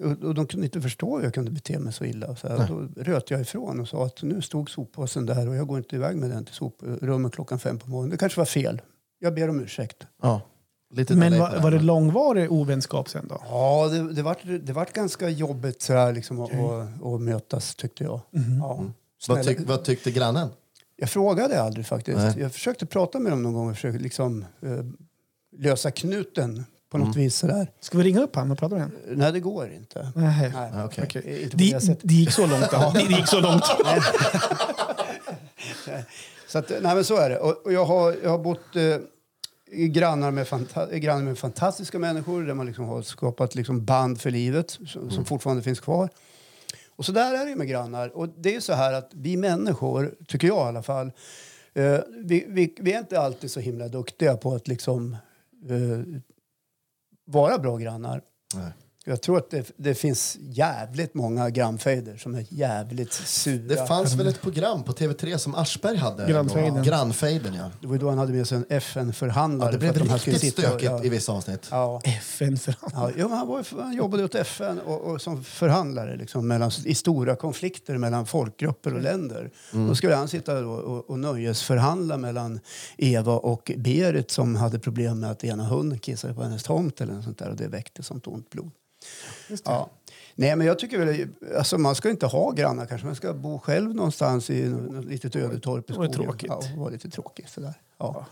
A: Och, och de kunde inte förstå hur jag kunde bete mig så illa. Och så här. Och Då röt jag ifrån och sa att nu stod soppåsen där och jag går inte iväg med den till soprummet klockan fem på morgonen. Det kanske var fel. Jag ber om ursäkt.
C: ja. Lite
B: Men
C: delay
B: var,
C: på
B: var det
C: här.
B: långvarig ovänskap sen då?
A: Ja, det, det, vart, det vart ganska jobbigt så här, liksom, att, att, att mötas tyckte jag. Ja.
C: vad, tyck,
A: Snälla.
C: vad tyckte grannen?
A: Jag frågade aldrig faktiskt.
C: Nej.
A: Jag försökte prata med dem någon gång och försökte liksom eh, lösa knuten på
C: Mm.
A: något vis sådär.
B: Ska vi ringa upp honom och prata med honom?
A: Nej, det går inte. Nej,
B: Nej.
C: Ah, Okej.
A: eh, inte på det
B: Det,
A: sättet.
B: det gick så långt. Ja. Det, det gick så långt.
A: Så, att, nej, men så är det. Och, och jag, har, jag har bott eh, i grannar, med fanta- i grannar med fantastiska människor där man liksom har skapat liksom band för livet som,
C: Mm.
A: som fortfarande finns kvar. Och så där är det ju med grannar. Och det är ju så här att vi människor, tycker jag i alla fall, eh, vi, vi, vi är inte alltid så himla duktiga på att liksom eh, vara bra grannar.
C: Nej.
A: Jag tror att det, det finns jävligt många grannfejder som är jävligt sura.
C: Det fanns väl ett program på TV3 som Aschberg hade? en gång?
B: Grannfejden.
C: Grannfejden, ja.
A: Det var ju då han hade med sig en FN-förhandlare.
C: ja. Det
A: för
C: blev
A: att de här skulle
C: riktigt
A: sitta och-
C: stökigt
A: ja.
C: i vissa avsnitt.
A: Ja.
B: FN för han.
A: Ja, ja, men han, var, ju för- han jobbade åt FN och, och som förhandlare liksom, mellan, i stora konflikter mellan folkgrupper och länder. Då skulle han sitta då och, och nöjesförhandla mellan Eva och Berit som hade problem med att ena hunden kissade på hennes tomt eller något sånt där, och det väckte sånt ont blod. Ja. Nej, men jag tycker väl, alltså man ska inte ha grannar kanske. Man ska bo själv någonstans i något något litet ödetorp i
B: Det var
A: skogen.
B: tråkigt.
A: Ja, och vara lite tråkig sådär. Ja.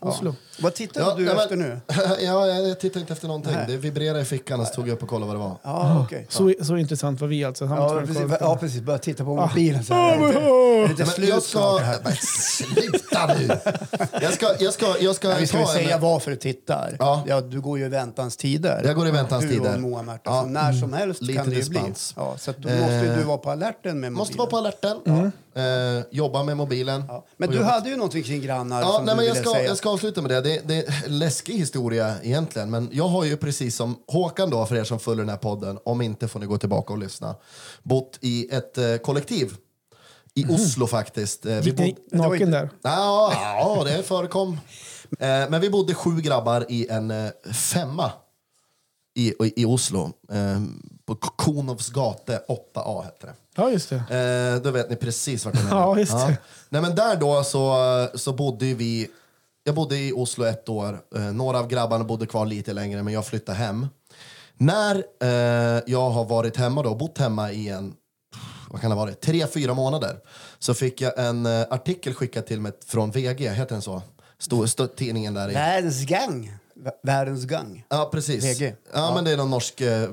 B: Oslo.
A: Vad tittar
C: Ja,
A: du
C: nej, men-
A: efter nu?
C: ja, jag tittar inte efter någonting. Det vibrerade i fickan och så tog jag upp och kollade vad det var.
A: Ja, okej.
B: Så, så intressant var vi alltså. Han
A: Ja,
B: ja,
A: precis, ja, precis. Börja titta på mobilen. Så här. Lite, lite
C: Nej, men
A: slut
C: jag
A: snart
C: ska...
A: här.
C: Men sluta nu! Jag ska... Jag ska, jag ska
A: Ja, Vi ska ju
C: ta en-
A: säga varför du tittar.
C: Ja.
A: du går ju i väntans tider.
C: Jag går i väntans
A: du
C: tider.
A: och Moa Märta.
C: Ja. Mm.
A: Så när som helst
C: Lite
A: kan det ju bli.
C: dispens.
A: Ja, så att då måste ju du vara på alerten med mobilen.
C: Måste vara på alerten. Eh, jobba med mobilen.
A: Mm. Ja. Men du hade ju någonting kring grannar
C: Ja,
A: som
C: nej,
A: du
C: men jag,
A: ville
C: ska,
A: säga.
C: jag ska avsluta med det. det. Det är en läskig historia egentligen. Men jag har ju precis som Håkan då, för er som följer den här podden, om inte får ni gå tillbaka och lyssna, bott i ett eh, kollektiv. I
A: Mhm.
C: Oslo faktiskt. Eh, vi
B: Gick ni
C: bod-
B: naken där?
C: Ja, ja, det förekom. Eh, men vi bodde sju grabbar i en eh, femma i, i, i Oslo. Eh, på K- Konovs gate 8A hette det.
B: Ja, just det.
C: Eh, då vet ni precis vart jag menar.
B: Ja, just det.
C: Nej, men där då så, så bodde ju vi... Jag bodde i Oslo ett år. Eh, några av grabbarna bodde kvar lite längre, men jag flyttade hem. När eh, jag har varit hemma då, bott hemma i en vad kan det vara, tre, fyra månader så fick jag en eh, artikel skickad till mig från VG, heter den så? Stor, stor, tidningen där i
A: Världens gang. V- Världens gang.
C: Ja, precis.
A: VG.
C: Ja, men det är någon norsk eh,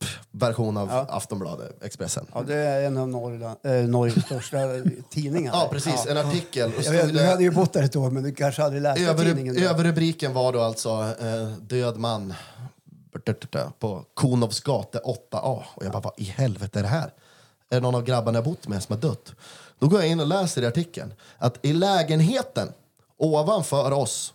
C: pff, version av Aftonbladet, Expressen. Ja,
A: Ja, det är en av Norrland, eh, Norges största tidningar.
C: precis. En artikel. Och
A: Jag
C: stod
A: vet, du
C: det-
A: hade ju bott där ett år, men du kanske aldrig läste tidningen.
C: Över,
A: då.
C: överrubriken var då alltså eh, Död man på Konovs gate 8A. Och jag bara, vad i helvete är det här? Är det någon av grabbarna jag bott med som har dött? Då går jag in och läser i artikeln att i lägenheten ovanför oss,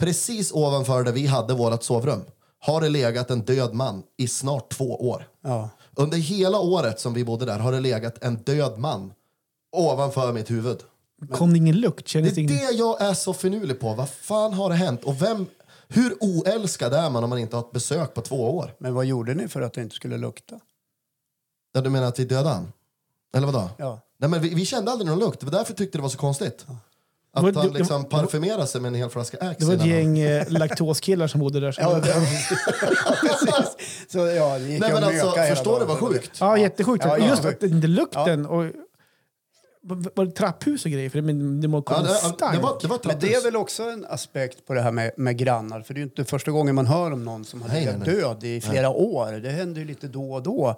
C: precis ovanför där vi hade vårt sovrum, har det legat en död man i snart två år.
A: Ja.
C: Under hela året som vi bodde där har det legat en död man ovanför mitt huvud.
B: Kom det ingen lukt? Kändes det
C: Det är
B: ingen...
C: det jag är så finurlig på. Vad fan har det hänt? Och vem, hur oälskad är man om man inte har ett besök på två år?
A: Men vad gjorde ni för att det inte skulle lukta?
C: Ja, du menar att vi dödade han? Eller vadå?
A: Ja.
C: Nej, men vi, vi kände aldrig någon lukt. Det var därför tyckte det var så konstigt. Att
B: Men det-
C: han
B: det-
C: liksom parfymerade sig med en hel flaska Axe.
B: Det var ett
C: innan han-
B: gäng eh, laktoskillar som bodde där.
A: Ja,
B: Ja,
A: precis. Så, ja, det gick
C: Nej,
A: ju att
C: men alltså,
A: möka hela
C: förstår du
A: dagen.
C: vad sjukt?
B: ja jättesjukt.
A: Ja, ja.
B: Just att det inte lukten och... Var var det trapphus och grejer? För det, men det må
C: Ja,
B: komma
C: det,
B: stank.
C: det var, det var ett
A: Men det är
C: trapphus.
A: väl också en aspekt på det här med, med grannar. För det är ju inte första gången man hör om någon som har
C: Nej,
A: legat
C: nej, nej.
A: död i flera år. Det händer ju lite då och då.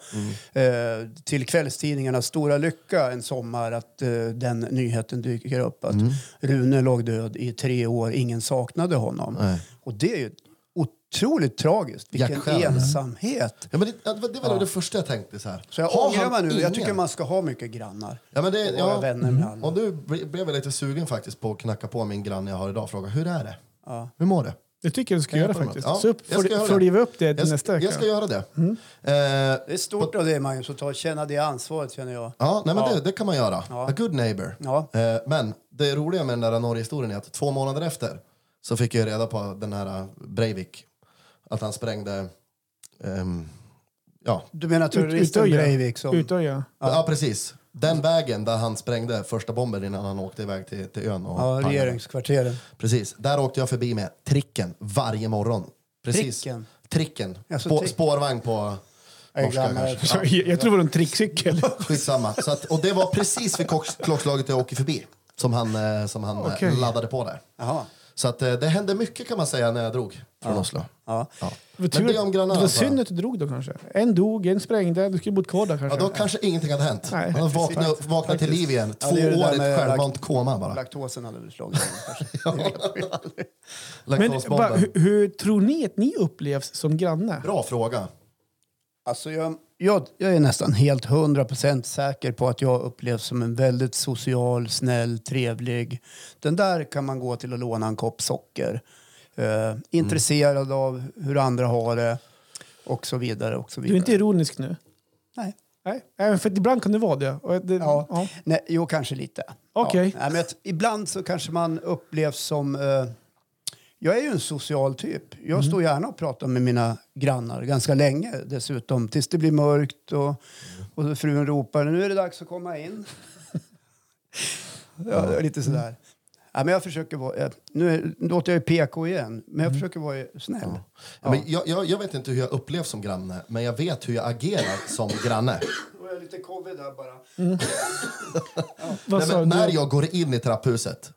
C: Mm.
A: Eh, till kvällstidningarnas stora lycka en sommar att eh, den nyheten dyker upp att
C: Mm.
A: Rune låg död i tre år, ingen saknade honom.
C: Nej.
A: Och det är ju otroligt tragiskt. Vilken
C: Hjärtskärande.
A: ensamhet.
C: Ja, men det, det var- det var det första jag tänkte. Så här.
A: Så jag
C: Har
A: ångrar
C: han
A: mig nu. Jag tycker
C: ingen-
A: man ska ha mycket grannar.
C: Ja, men det,
A: och vara
C: ja. Mm.
A: vänner med alla.
C: Och nu ble- blev jag lite sugen faktiskt på att knacka på min granne jag har idag och fråga hur är det?
A: Ja.
C: Hur mår du?
B: Det tycker jag du ska
C: Jag
B: göra
C: på dem.
B: faktiskt.
C: Ja,
B: Så upp,
C: jag ska
B: följ-
C: göra det.
B: följer vi upp det
C: Jag,
B: till nästa
C: jag
B: vecka. Mm.
C: ska göra det. Eh,
A: Det är stort av dig, Magnus, att ta, känna det ansvaret, känner jag.
C: Ja, nej, men Det, det kan man göra.
A: Ja.
C: A good neighbor.
A: Ja.
C: Eh, men det roliga med den där Norge-historien är att två månader efter så fick jag reda på den här eh, Breivik, att han sprängde... ehm, ja,
A: Du menar terroristen
B: Utöja.
A: Breivik? Som,
B: Utöja.
C: ja. precis. Den vägen där han sprängde första bomben innan han åkte iväg till, till ön. Och
A: ja,
C: pangade.
A: regeringskvarteren.
C: Precis. Där åkte jag förbi med tricken varje morgon. Precis.
A: Tricken?
C: Tricken.
A: Alltså,
C: Spå-
A: trick-
C: spårvagn på
A: Jag är
C: norska
A: gammal.
C: kanske.
B: Så, jag, jag tror det var en trickcykel.
C: Skitsamma. Så att, och det var precis vid klock, klockslaget jag åker förbi som han, eh, som han eh,
B: Okej.
C: laddade på där.
A: Jaha.
C: Så att, eh, det hände mycket kan man säga när jag drog från Oslo.
A: Ja.
B: Det var,
C: Men det är om Granada,
B: det var
C: va?
B: synd att du drog då kanske. En dog, en sprängde, du skulle bott kvar där
C: Ja,
B: kanske.
C: då kanske ingenting hade hänt.
B: Nej,
C: Man vaknade, vaknade till liv igen. Två
A: Ja, det är det där
C: år i
A: med
C: ett självmant koma bara.
A: Laktosen hade väl slagit in, kanske.
B: Men bara,
C: Laktosbomben.
B: hur, hur tror ni att ni upplevs som granne?
C: Bra fråga.
A: Alltså jag, jag, jag är nästan helt 100% säker på att jag upplevs som en väldigt social, snäll, trevlig. Den där kan man gå till och låna en kopp socker. Eh, intresserad av hur andra har det och så vidare. Och så
B: Du är
A: vidare.
B: inte ironisk nu?
A: Nej.
B: Nej, Även för att ibland kan det vara det. Och det
A: Ja.
B: ja.
A: Nej, jo, kanske lite.
B: Okej.
A: Ja. Nej, men att ibland så kanske man upplevs som... Eh, jag är ju en social typ. Jag står gärna och pratar med mina grannar ganska länge dessutom. Tills det blir mörkt och, och frun ropar nu är det dags att komma in. ja, det är lite sådär. Ja, men jag försöker vara... eh, Nu är- nu låter jag ju PK igen, men jag försöker vara snäll.
C: Ja. Men jag, jag, jag vet inte hur jag upplevs som granne, men jag vet hur jag agerar som granne.
A: Då är jag lite covid här bara.
B: Vad
C: Nej,
B: sa
C: men
B: Alltså, du?
C: när jag går in i trapphuset,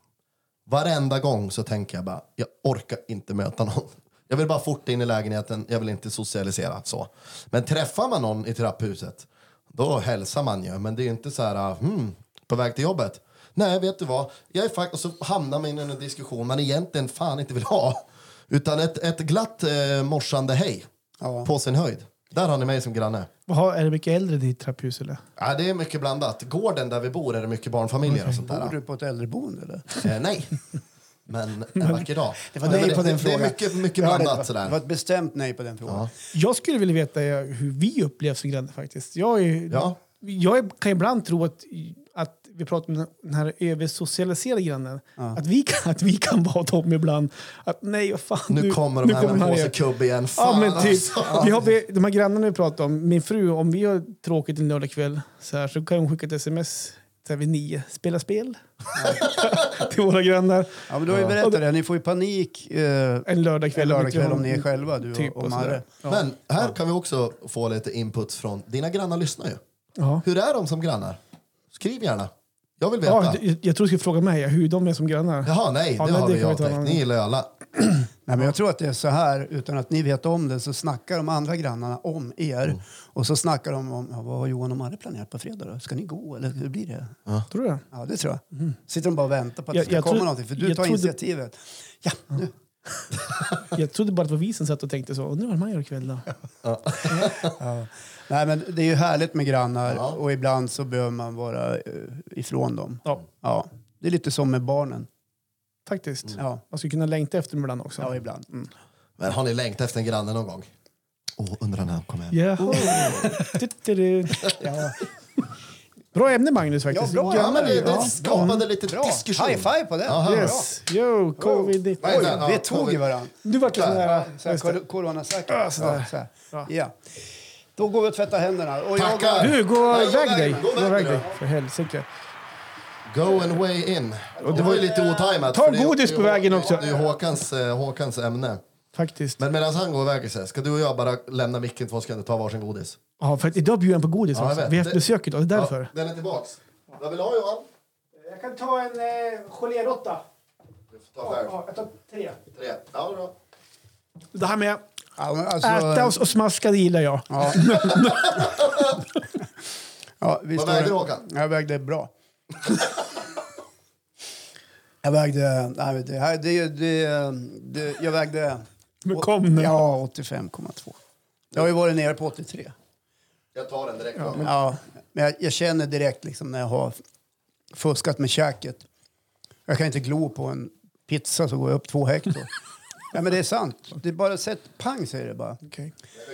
C: varenda gång så tänker jag bara, jag orkar inte möta någon. Jag vill bara fort in i lägenheten, jag vill inte socialisera. så. Men träffar man någon i trapphuset, då hälsar man ju. Men det är ju inte så här, hmm, på väg till jobbet. Nej, vet du vad? Jag är fakt- och så hamnar man in i en diskussion man egentligen fan inte vill ha. Utan ett, ett glatt eh, morsande hej,
A: Ja.
C: på sin höjd. Där har ni mig som granne.
B: Jaha, är det mycket äldre i ditt trapphus eller?
C: Ja, det är mycket blandat. Gården där vi bor är det mycket barnfamiljer och sånt där.
A: Bor du på ett äldreboende eller?
C: Eh, nej. Men en vacker dag.
A: Det var nej
C: men
A: på den
C: det,
A: frågan.
C: Det är mycket, mycket
A: Ja,
C: blandat
A: det var,
C: sådär.
A: Det var ett bestämt nej på den frågan.
B: Jag skulle vilja veta eh, hur vi upplevs som granne faktiskt. Jag, är,
C: Ja.
B: jag är, kan ibland tro att, att vi pratar om den här översocialiserade grannen. Att, vi kan, att vi kan vara dem ibland. Att nej, vad fan.
C: nu kommer de här med en
B: här
C: påse
B: igen.
C: kubb igen.
B: Ja,
C: Fan
B: men typ,
C: alltså.
B: vi har, vi, de här grannarna vi pratar om, min fru, om vi har tråkigt en lördagkväll så, här, så kan hon skicka ett sms så här vid nio. Spela spel? till våra grannar.
A: Ja, men då har vi berättat det. Ni får ju panik eh,
B: En lördagkväll.
A: en
B: om
A: lördagkväll
B: inte
A: om ni är
B: hon-
A: själva, du
B: typ
A: och, och
B: och
A: Marre.
B: sådär.
C: Men här kan vi också få lite input från... Dina grannar lyssnar ju.
B: Ja.
C: Hur är de som grannar? Skriv gärna. Jag vill veta.
B: Ja, jag, jag tror du skulle fråga mig hur de är som grannar.
C: Jaha, nej,
B: Ja,
C: det
B: men
C: har
B: det
C: vi ju
B: kan vi ta
C: avtäckt.
B: någon
C: Ni
B: gång.
C: gillar ju alla.
A: Nej, men jag tror att det är så här, utan att ni vet om det, så snackar de andra grannarna om er. Och så snackar de om ja, vad har Johan och Marre planerat på fredag. Då? Ska ni gå eller hur blir det?
B: Tror du det?
A: Ja, det tror jag. Sitter de bara och väntar på att
B: Jag-
A: det ska
B: jag
A: komma
B: tror-
A: någonting. För du
B: jag
A: tar
B: trodde-
A: initiativet. Ja, nu.
B: Jag trodde bara att det var vi som satt och tänkte så. Undrar vad man gör ikväll då?
A: Nej, men det är ju härligt med grannar och ibland så behöver man vara eh, ifrån dem.
B: Ja,
A: Ja, det är lite som med barnen.
B: faktiskt.
A: Ja,
B: Man skulle kunna längta efter dem ibland också.
A: ja ibland. Mm.
C: Men har ni längtat efter en granne någon gång? Åh, undrar när han kommer hem.
B: Jaha. Tuttudu. ja. Bra ämne Magnus faktiskt.
A: Ja, bra
C: Ja, men det,
B: Ja.
C: det skapade lite
A: Bra,
C: diskussion.
A: high five på det.
C: Ja, här.
B: Yes. Yo, covid.
C: Vad är
A: Oj,
C: det? Ja,
A: vi tog i
C: covid.
A: varandra.
B: Du vart ju sån här...
A: Så här, kor- coronasäkert. Ja, så här.
B: Ja.
A: Ja. Då går vi och tvättar händerna. Och jag,
C: Tackar.
B: Du, gå
C: Nej, gå
B: iväg
C: iväg
B: dig.
C: nu, gå
B: Gå
C: iväg
B: iväg
C: nu
B: dig.
C: då.
B: För helsike.
C: Go and way in. det var ju lite otajmat.
B: Ta
C: för det är-
B: godis
C: det är
B: på
C: Hå-
B: vägen också.
C: Det är Håkans, eh, Håkans ämne.
B: Faktiskt.
C: Men medan han går iväg, så här, ska du och jag bara lämna micken två sekunder och ta varsin godis?
B: Ja, för att idag bjuder han på godis
C: jag
B: också.
C: vet.
B: Vi har haft
C: Det-
B: besök idag. Det är därför.
C: Ja, den är tillbaks. Vad vill du ha Johan?
B: Jag kan ta en eh, geléråtta.
C: Du får ta själv.
B: jag tar tre.
C: Tre. Ja, bra.
B: Det här med
A: ja, men
B: äta
A: alltså,
B: och smaska, det gillar jag.
A: ja. ja, vi
C: Vad
A: står-
C: väger du, Håkan?
A: Jag vägde bra. jag vägde... Nej, men det, här, det, det, det, jag vägde...
B: Men kom nu.
A: Ja, 85,2. Jag har ju varit nere på 83.
C: Jag tar den direkt. Ja,
A: Ja, men jag, jag känner direkt liksom när jag har fuskat med käket. Jag kan inte glo på en pizza så går jag upp två hekto. ja, men det är sant. Det är bara sett pang säger det bara.
B: Okej.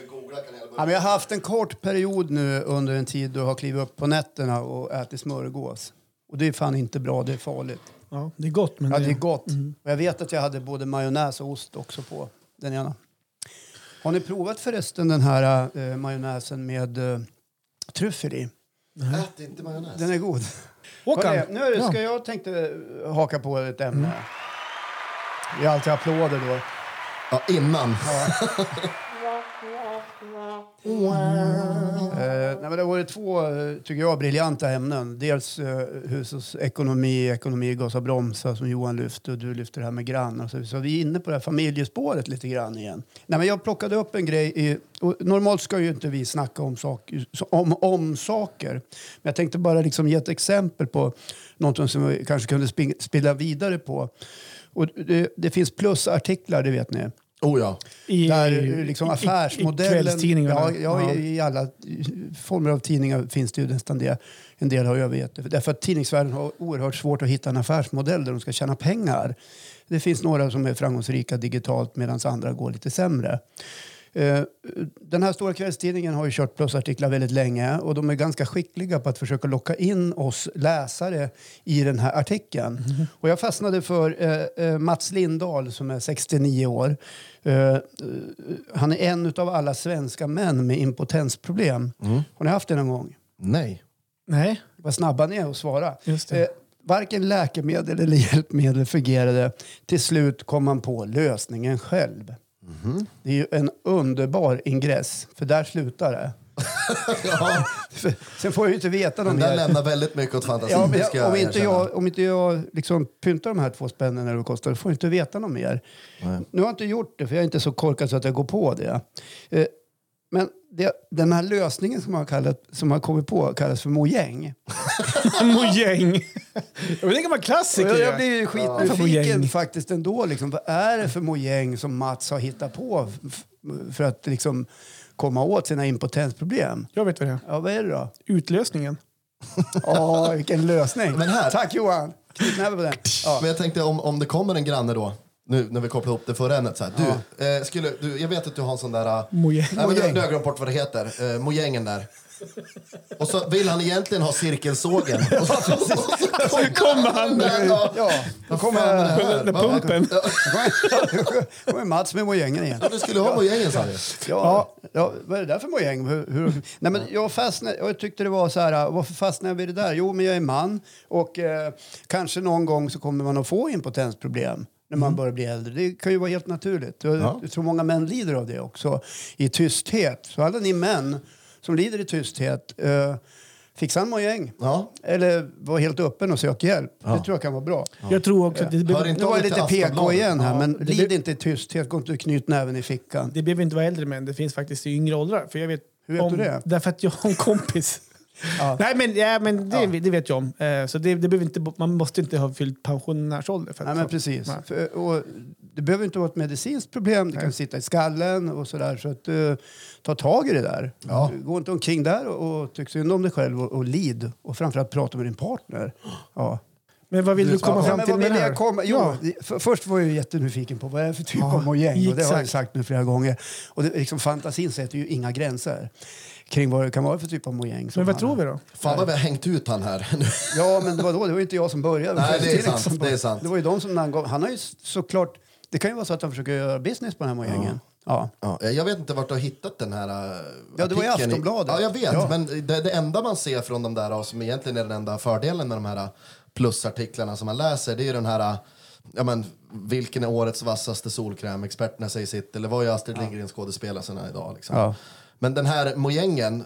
C: Googla kan jag
A: Ja, men jag har haft en kort period nu under en tid då jag har klivit upp på nätterna och ätit smörgås. Och det är fan inte bra, det är farligt.
B: Ja, det är gott, men
A: Ja, det är gott. Och jag vet att jag hade både majonnäs och ost också på den ena. Har ni provat förresten den här eh, majonnäsen med eh, tryffel i?
C: Ät inte majonnäs.
A: Den är god.
B: Håkan.
A: Hörrni, Nu ska
B: ja.
A: jag tänkte haka på ett ämne. Det är alltid applåder då.
C: Ja, innan.
A: Eh, Nej, men det var två, eh, tycker jag, briljanta ämnen. Dels eh, hushållsekonomi, ekonomi, ekonomi gas och bromsa som Johan lyfte och du lyfte det här med grannar. Så, så vi är inne på det här familjespåret lite grann igen. Nej, men jag plockade upp en grej. I, och normalt ska ju inte vi snacka om, sak, om, om saker. Men jag tänkte bara liksom ge ett exempel på något som vi kanske kunde spin- spilla vidare på. Och det, det finns plusartiklar, det vet ni.
C: Oh ja.
B: I,
A: Där liksom
B: i- i-
A: affärsmodellen...
B: I kvällstidningarna.
A: Ja, ja, i- i alla former av tidningar finns det ju nästan det. En del har övergett det. Därför att tidningsvärlden har oerhört svårt att hitta en affärsmodell där de ska tjäna pengar. Det finns några som är framgångsrika digitalt medan andra går lite sämre. Eh, Den här stora kvällstidningen har ju kört plusartiklar väldigt länge och de är ganska skickliga på att försöka locka in oss läsare i den här artikeln.
B: Mhm.
A: Och jag fastnade för eh, eh, Mats Lindahl som är 69 år. Eh, eh, han är en av alla svenska män med impotensproblem. Har ni haft det någon gång?
C: Nej.
B: Nej,
A: Vad snabba ni är att svara.
B: Just det.
A: Eh, varken läkemedel eller hjälpmedel fungerade. Till slut kom man på lösningen själv. Det är ju en underbar ingress, för där slutar det.
C: Ja,
A: Sen får jag ju inte veta något
C: den där
A: mer.
C: lämnar väldigt mycket åt fantasin.
A: Ja, men
C: det ska
A: jag, om, inte
C: erkänna.
A: jag, om inte jag liksom pyntar de här två spännen när det kostar, då får jag inte veta något mer. Nu har jag inte gjort det, för jag är inte så korkad så att jag går på det. Eh, Men det, den här lösningen som man har, kallat, som har kommit på kallas för mojäng.
B: mojäng. Jag vet inte om
A: Och
B: klassiker.
A: Jag, jag blir ju skitnyfiken
B: Mojäng.
A: faktiskt ändå. Liksom. Vad är det för mojäng som Mats har hittat på f- för att liksom komma åt sina impotensproblem?
B: jag vet vad det är.
A: Ja, vad är det då?
B: Utlösningen.
A: Ja, vilken lösning.
C: Men här-
A: Tack Johan! Knytnäve på den. Ja.
C: Men jag tänkte om, om det kommer en granne då, nu när vi kopplar ihop det förra ämnet. Så här, du, eh, skulle, du, jag vet att du har en sån där... eh,
B: Mojäng.
C: Nej, men jag- nu har jag glömt bort vad det heter. Eh, mojängen där. Och så vill han egentligen ha cirkelsågen. Och så,
B: Nu kommer han.
C: där, ja.
A: Ja, då kommer,
B: Med, med pumpen.
A: då kommer Mats med mojängen igen.
C: Ja, Du skulle ha mojängen sa du.
A: Ja, ja, vad är det där för mojäng? Hur, hur? Nej, men jag, fastnade, jag tyckte det var så här, varför fastnade jag vid det där? Jo, men jag är man och eh, kanske någon gång så kommer man att få impotensproblem när man börjar bli äldre. Det kan ju vara helt naturligt. Jag
C: Mm. Ja.
A: tror många män lider av det också, i tysthet. Så alla ni män som lider i tysthet, eh, fixa en mojäng.
C: Ja.
A: Eller var helt öppen och sök hjälp. Det tror jag kan vara bra.
B: Jag tror också att det,
C: Hör
B: be,
C: inte
A: Nu var
C: av
A: jag
C: dig
A: lite
C: till
A: PK
C: Aftonbladet.
A: igen här, men
B: det
A: lid
B: blir-
A: inte i tysthet. Gå inte och knyt näven i fickan.
B: det behöver inte vara äldre män. Det finns faktiskt i yngre åldrar. För jag vet
A: Hur vet
B: om,
A: du det?
B: Därför att jag har en kompis.
A: Ja.
B: Nej, men, ja, men det, det vet jag om. Eh, Så det, det behöver inte, man måste inte ha fyllt pensionärsålder. För att
A: Nej, men
B: få-
A: precis.
B: Nej.
A: För, och, det behöver inte vara ett medicinskt problem. Det kan sitta i skallen och sådär. Så att, eh, ta tag i det där. Gå inte omkring där och, och tyck synd om dig själv och, och lid. Och framförallt prata med din partner. Ja.
B: Men vad vill du komma
A: Ja,
B: fram
A: men
B: till
A: vad
B: med
A: vill
B: det
A: jag
B: här?
A: komma? Jo, för, först var jag ju jättenyfiken på vad är det för typ av mojäng. Och det har jag ju
B: exakt.
A: sagt nu flera gånger. Och det, liksom, fantasin sätter ju inga gränser kring vad det kan vara för typ av mojäng. som
B: Men vad
A: han-
B: tror vi då?
C: Fan vad vi har hängt ut han här.
A: Ja, men vadå? Det var ju inte jag som började.
C: Nej, det är
A: Fredrik
C: sant,
A: som
C: det är sant.
A: Det var ju de som namngav. Han har ju såklart... Det kan ju vara så att han försöker göra business på den här mojängen. Ja.
C: Ja, eh, jag vet inte vart du har hittat den här eh,
A: Ja, det var i
C: artikeln
A: Aftonbladet.
C: Ja, jag vet.
A: Ja.
C: Men det, det enda man ser från de där, och som egentligen är den enda fördelen med de här eh, plusartiklarna som man läser, det är ju den här eh, Ja, men, vilken är årets vassaste solkräm? Experterna säger sitt. Eller vad är Astrid Lindgren skådespelarna idag? Liksom.
A: Ja.
C: Men den här mojängen,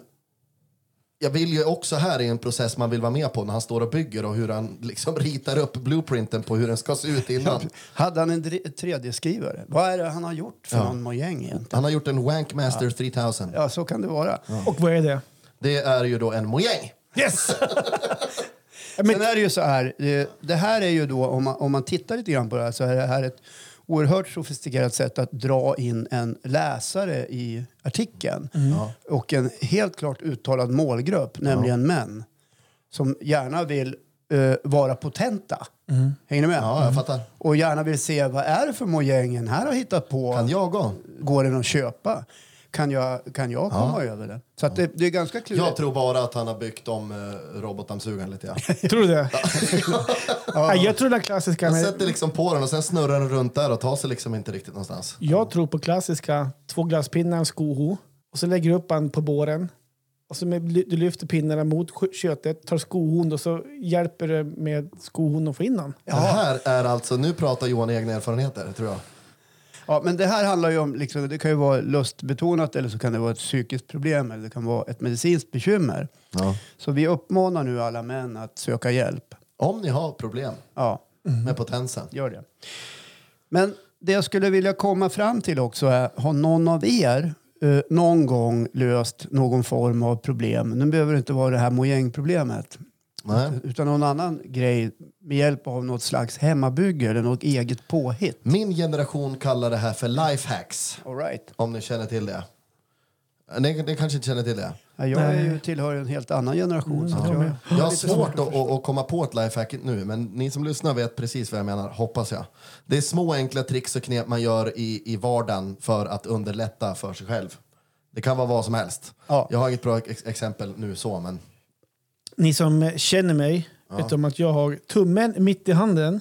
C: jag vill ju också här i en process man vill vara med på när han står och bygger och hur han liksom ritar upp blueprinten på hur den ska se ut innan.
A: Hade han en dri- 3D-skrivare? Vad är det han har gjort för någon mojäng egentligen?
C: Han har gjort en Wankmaster 3000.
A: Ja, så kan det vara.
B: Och vad är det?
C: Det är ju då en mojäng.
B: Yes!
A: Sen är det ju så här, eh, det här är ju då om man, om man tittar lite grann på det här så är det här ett oerhört sofistikerat sätt att dra in en läsare i artikeln.
C: Mm.
A: Och en helt klart uttalad målgrupp, nämligen män. Som gärna vill eh, vara potenta. Hänger ni med?
C: Mm. Ja, jag fattar.
A: Och gärna vill se vad är det för mojängen här har hittat på.
C: Kan jag gå?
A: Går den att köpa? Kan jag, kan jag komma över den? Så att det, det är ganska klurigt.
C: Jag tror bara att han har byggt om eh, robotdammsugaren lite. Ja.
B: Tror du det? Nej, jag tror den klassiska...
C: Han
B: Med,
C: sätter liksom på den och sen snurrar den runt där och tar sig liksom inte riktigt någonstans.
B: Jag tror på klassiska två glasspinnar, en skoho. Och så lägger du upp den på båren. Och så med, du lyfter pinnarna mot sk- köttet, tar skohon och så hjälper du med skohon att få in den.
C: Det här är alltså, nu pratar Johan egna erfarenheter tror jag.
A: Ja, men det här handlar ju om, liksom, det kan ju vara lustbetonat eller så kan det vara ett psykiskt problem eller det kan vara ett medicinskt bekymmer.
C: Ja.
A: Så vi uppmanar nu alla män att söka hjälp.
C: Om ni har problem
A: Ja,
C: med potensen.
A: gör det. Men det jag skulle vilja komma fram till också är, har någon av er eh, någon gång löst någon form av problem? Nu behöver det inte vara det här mojängproblemet.
C: Nej.
A: Utan någon annan grej med hjälp av något slags hemmabygge eller något eget påhitt.
C: Min generation kallar det här för lifehacks,
A: All right.
C: om ni känner till det. Ni, ni kanske inte känner till det?
A: Ja, jag är ju tillhör ju en helt annan generation. så att jag,
C: Jag har svårt att, att, att komma på ett lifehack nu, men ni som lyssnar vet precis vad jag menar, hoppas jag. Det är små enkla tricks och knep man gör i, i vardagen för att underlätta för sig själv. Det kan vara vad som helst.
A: Ja.
C: Jag har inget bra ex exempel nu så, men...
B: Ni som känner mig vet om att jag har tummen mitt i handen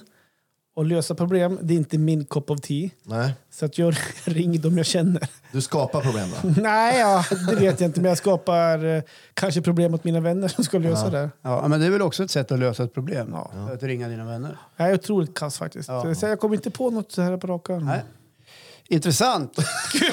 B: och lösa problem, det är inte min kopp av te.
C: Nej.
B: Så att jag ringer dem jag känner.
C: Du skapar problem då?
B: Nej, ja, det vet jag inte, men jag skapar eh, kanske problem åt mina vänner som ska lösa det.
A: ja, men det är väl också ett sätt att lösa ett problem? Att ringa dina vänner.
B: Jag är otroligt kass faktiskt. Så jag kommer inte på något så här på rak arm.
A: Nej. Intressant!
C: Kul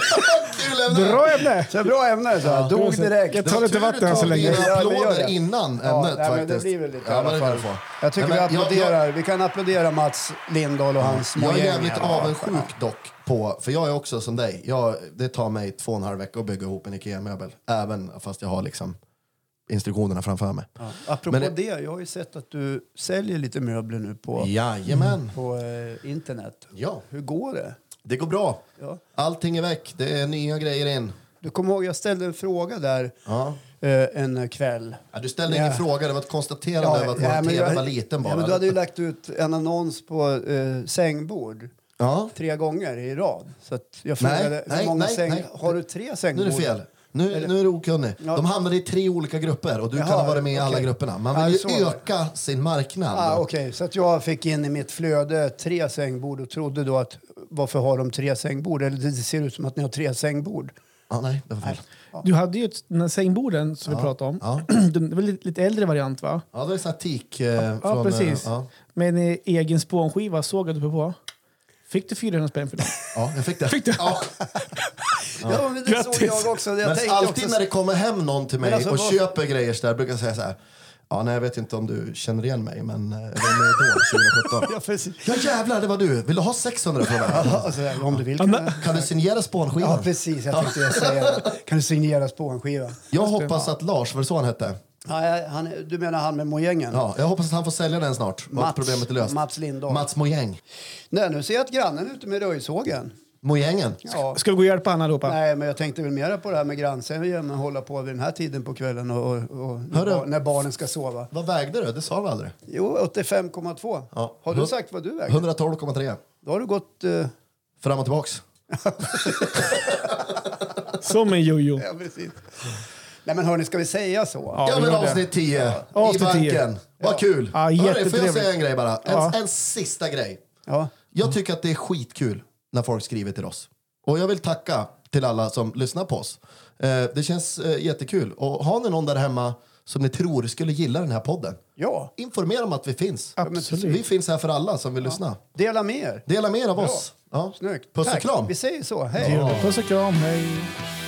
C: ämne!
B: Bra ämne!
A: Så bra ämne! Så. jag. Dog direkt.
B: Jag
C: Det
B: tar
C: var
B: lite
C: tur
B: vatten
C: du
B: än så
C: tog
B: länge.
C: dina
A: Ja, men gör
C: applåder
A: det.
C: innan ämnet
A: Ja, nej, men
C: faktiskt.
A: det blir väl lite i
C: ja, men
A: alla
C: det kan
A: fall.
C: du få.
A: Jag tycker
C: Nej, men
A: vi
C: jag-
A: applåderar.
C: jag-
A: Vi kan applådera Mats Lindahl och hans
C: Jag är
A: mojäng
C: jävligt
A: här.
C: avundsjuk dock på, för jag är också som dig. Jag, det tar mig två och en halv vecka att bygga ihop en IKEA-möbel. Även fast jag har liksom instruktionerna framför mig.
A: Ja. Apropå
C: Men
A: det, jag har ju sett att du säljer lite möbler nu på,
C: Jajamän.
A: på eh, internet.
C: Ja,
A: Hur går det?
C: det går bra.
A: Ja.
C: Allting är väck. Det är nya grejer in.
A: Du kommer ihåg, jag ställde en fråga där
C: Ja.
A: eh, en kväll.
C: Ja, du ställde
A: Ja.
C: ingen fråga, det var ett konstaterande över att vår
A: men
C: tv
A: jag-
C: var liten bara.
A: Ja, men du hade ju lagt ut en annons på eh, sängbord
C: Ja.
A: tre gånger i rad. Så att jag
C: Nej,
A: frågade hur
C: nej,
A: många
C: nej,
A: säng...
C: nej.
A: Har du tre
C: Nu
A: sängbord?
C: är det fel. Nu, nu är du okunnig.
A: Ja.
C: De hamnade i tre olika grupper och du
A: Jaha,
C: kan ha varit med i alla
A: okej.
C: grupperna.
A: Ja,
C: Man vill
A: så var
C: ju
A: det.
C: öka sin marknad.
A: Ah, Okej, så att jag fick in i mitt flöde tre sängbord och trodde då att varför har de tre sängbord? Eller det ser ut som att ni har tre sängbord.
C: Ja, nej, det var fel.
B: Du hade ju ett- den här sängborden som vi pratade om. De- Det var lite, lite äldre variant va?
C: Ja, det var en sån här tik. Eh,
B: Ja,
C: från, eh,
B: precis.
C: ja.
B: Med en eh, egen spånskiva såg jag du på. Fick du 400 spänn för den?
C: ja, jag fick det.
B: Fick du?
C: Ja.
A: Ja, men det såg
B: Grattis.
A: jag också. Jag
C: Men
A: tänkte
C: alltid
A: också...
C: när det kommer hem någon till mig
A: Men alltså,
C: och
A: vad-
C: köper grejer så där brukar jag säga så här. Ja, nej, jag vet inte om du känner igen mig, men eh, vem är då 2017?
A: Ja, precis.
C: Ja jävlar, det var du. Vill du ha 600 från mig?
A: Ja, så där, om du vill kan jag...
C: Kan du signera spånskivan?
A: Ja, precis. Jag tänkte jag säga det. Kan du signera spånskivan?
C: Jag hoppas att Lars, var det så han hette?
A: Ja, jag- han, är- du menar han med mojängen?
C: Ja, jag hoppas att han får sälja den snart. och att
A: Mats-
C: problemet är löst.
A: Mats Lindahl.
C: Mats Mojäng.
A: Nej, nu ser jag att grannen är ute med röjsågen.
C: Mojängen.
A: Ja.
B: Ska vi gå och hjälpa Anna allihopa?
A: Nej, men jag tänkte väl mera på det här med grannsämjan och hålla på vid den här tiden på kvällen och, och, och när,
C: Hörru.
A: bar, när barnen ska sova.
C: Vad vägde du? Det sa vi aldrig.
A: Jo, 85,2.
C: Ja.
A: Har du
C: Hund-
A: sagt vad du väger?
C: 112,3.
A: Då har du gått... eh,
C: Fram och tillbaks.
B: Som en jojo.
A: ja, precis. Nej, men hörni, ska vi säga så?
B: Ja,
C: Ja,
B: vi
C: men
B: gör det.
C: avsnitt 10 i
B: Avsnitt 10.
C: banken. Vad kul!
B: Ja,
C: Hörru, får jag
B: jättetrevligt.
C: säga en grej bara? En,
B: Ja.
C: en sista grej.
A: Ja.
C: Jag tycker att det är skitkul när folk skriver till oss. Och jag vill tacka till alla som lyssnar på oss. Eh, det känns eh, jättekul. Och har ni någon där hemma som ni tror skulle gilla den här podden?
A: ja.
C: Informera om att vi finns.
B: Absolut.
C: Vi finns här för alla som vill lyssna.
A: Dela med er.
C: Dela med er av oss. Ja.
A: Snyggt.
C: Puss och
A: Tack.
C: kram.
A: Vi säger så. Hej.
B: Puss och kram, hej.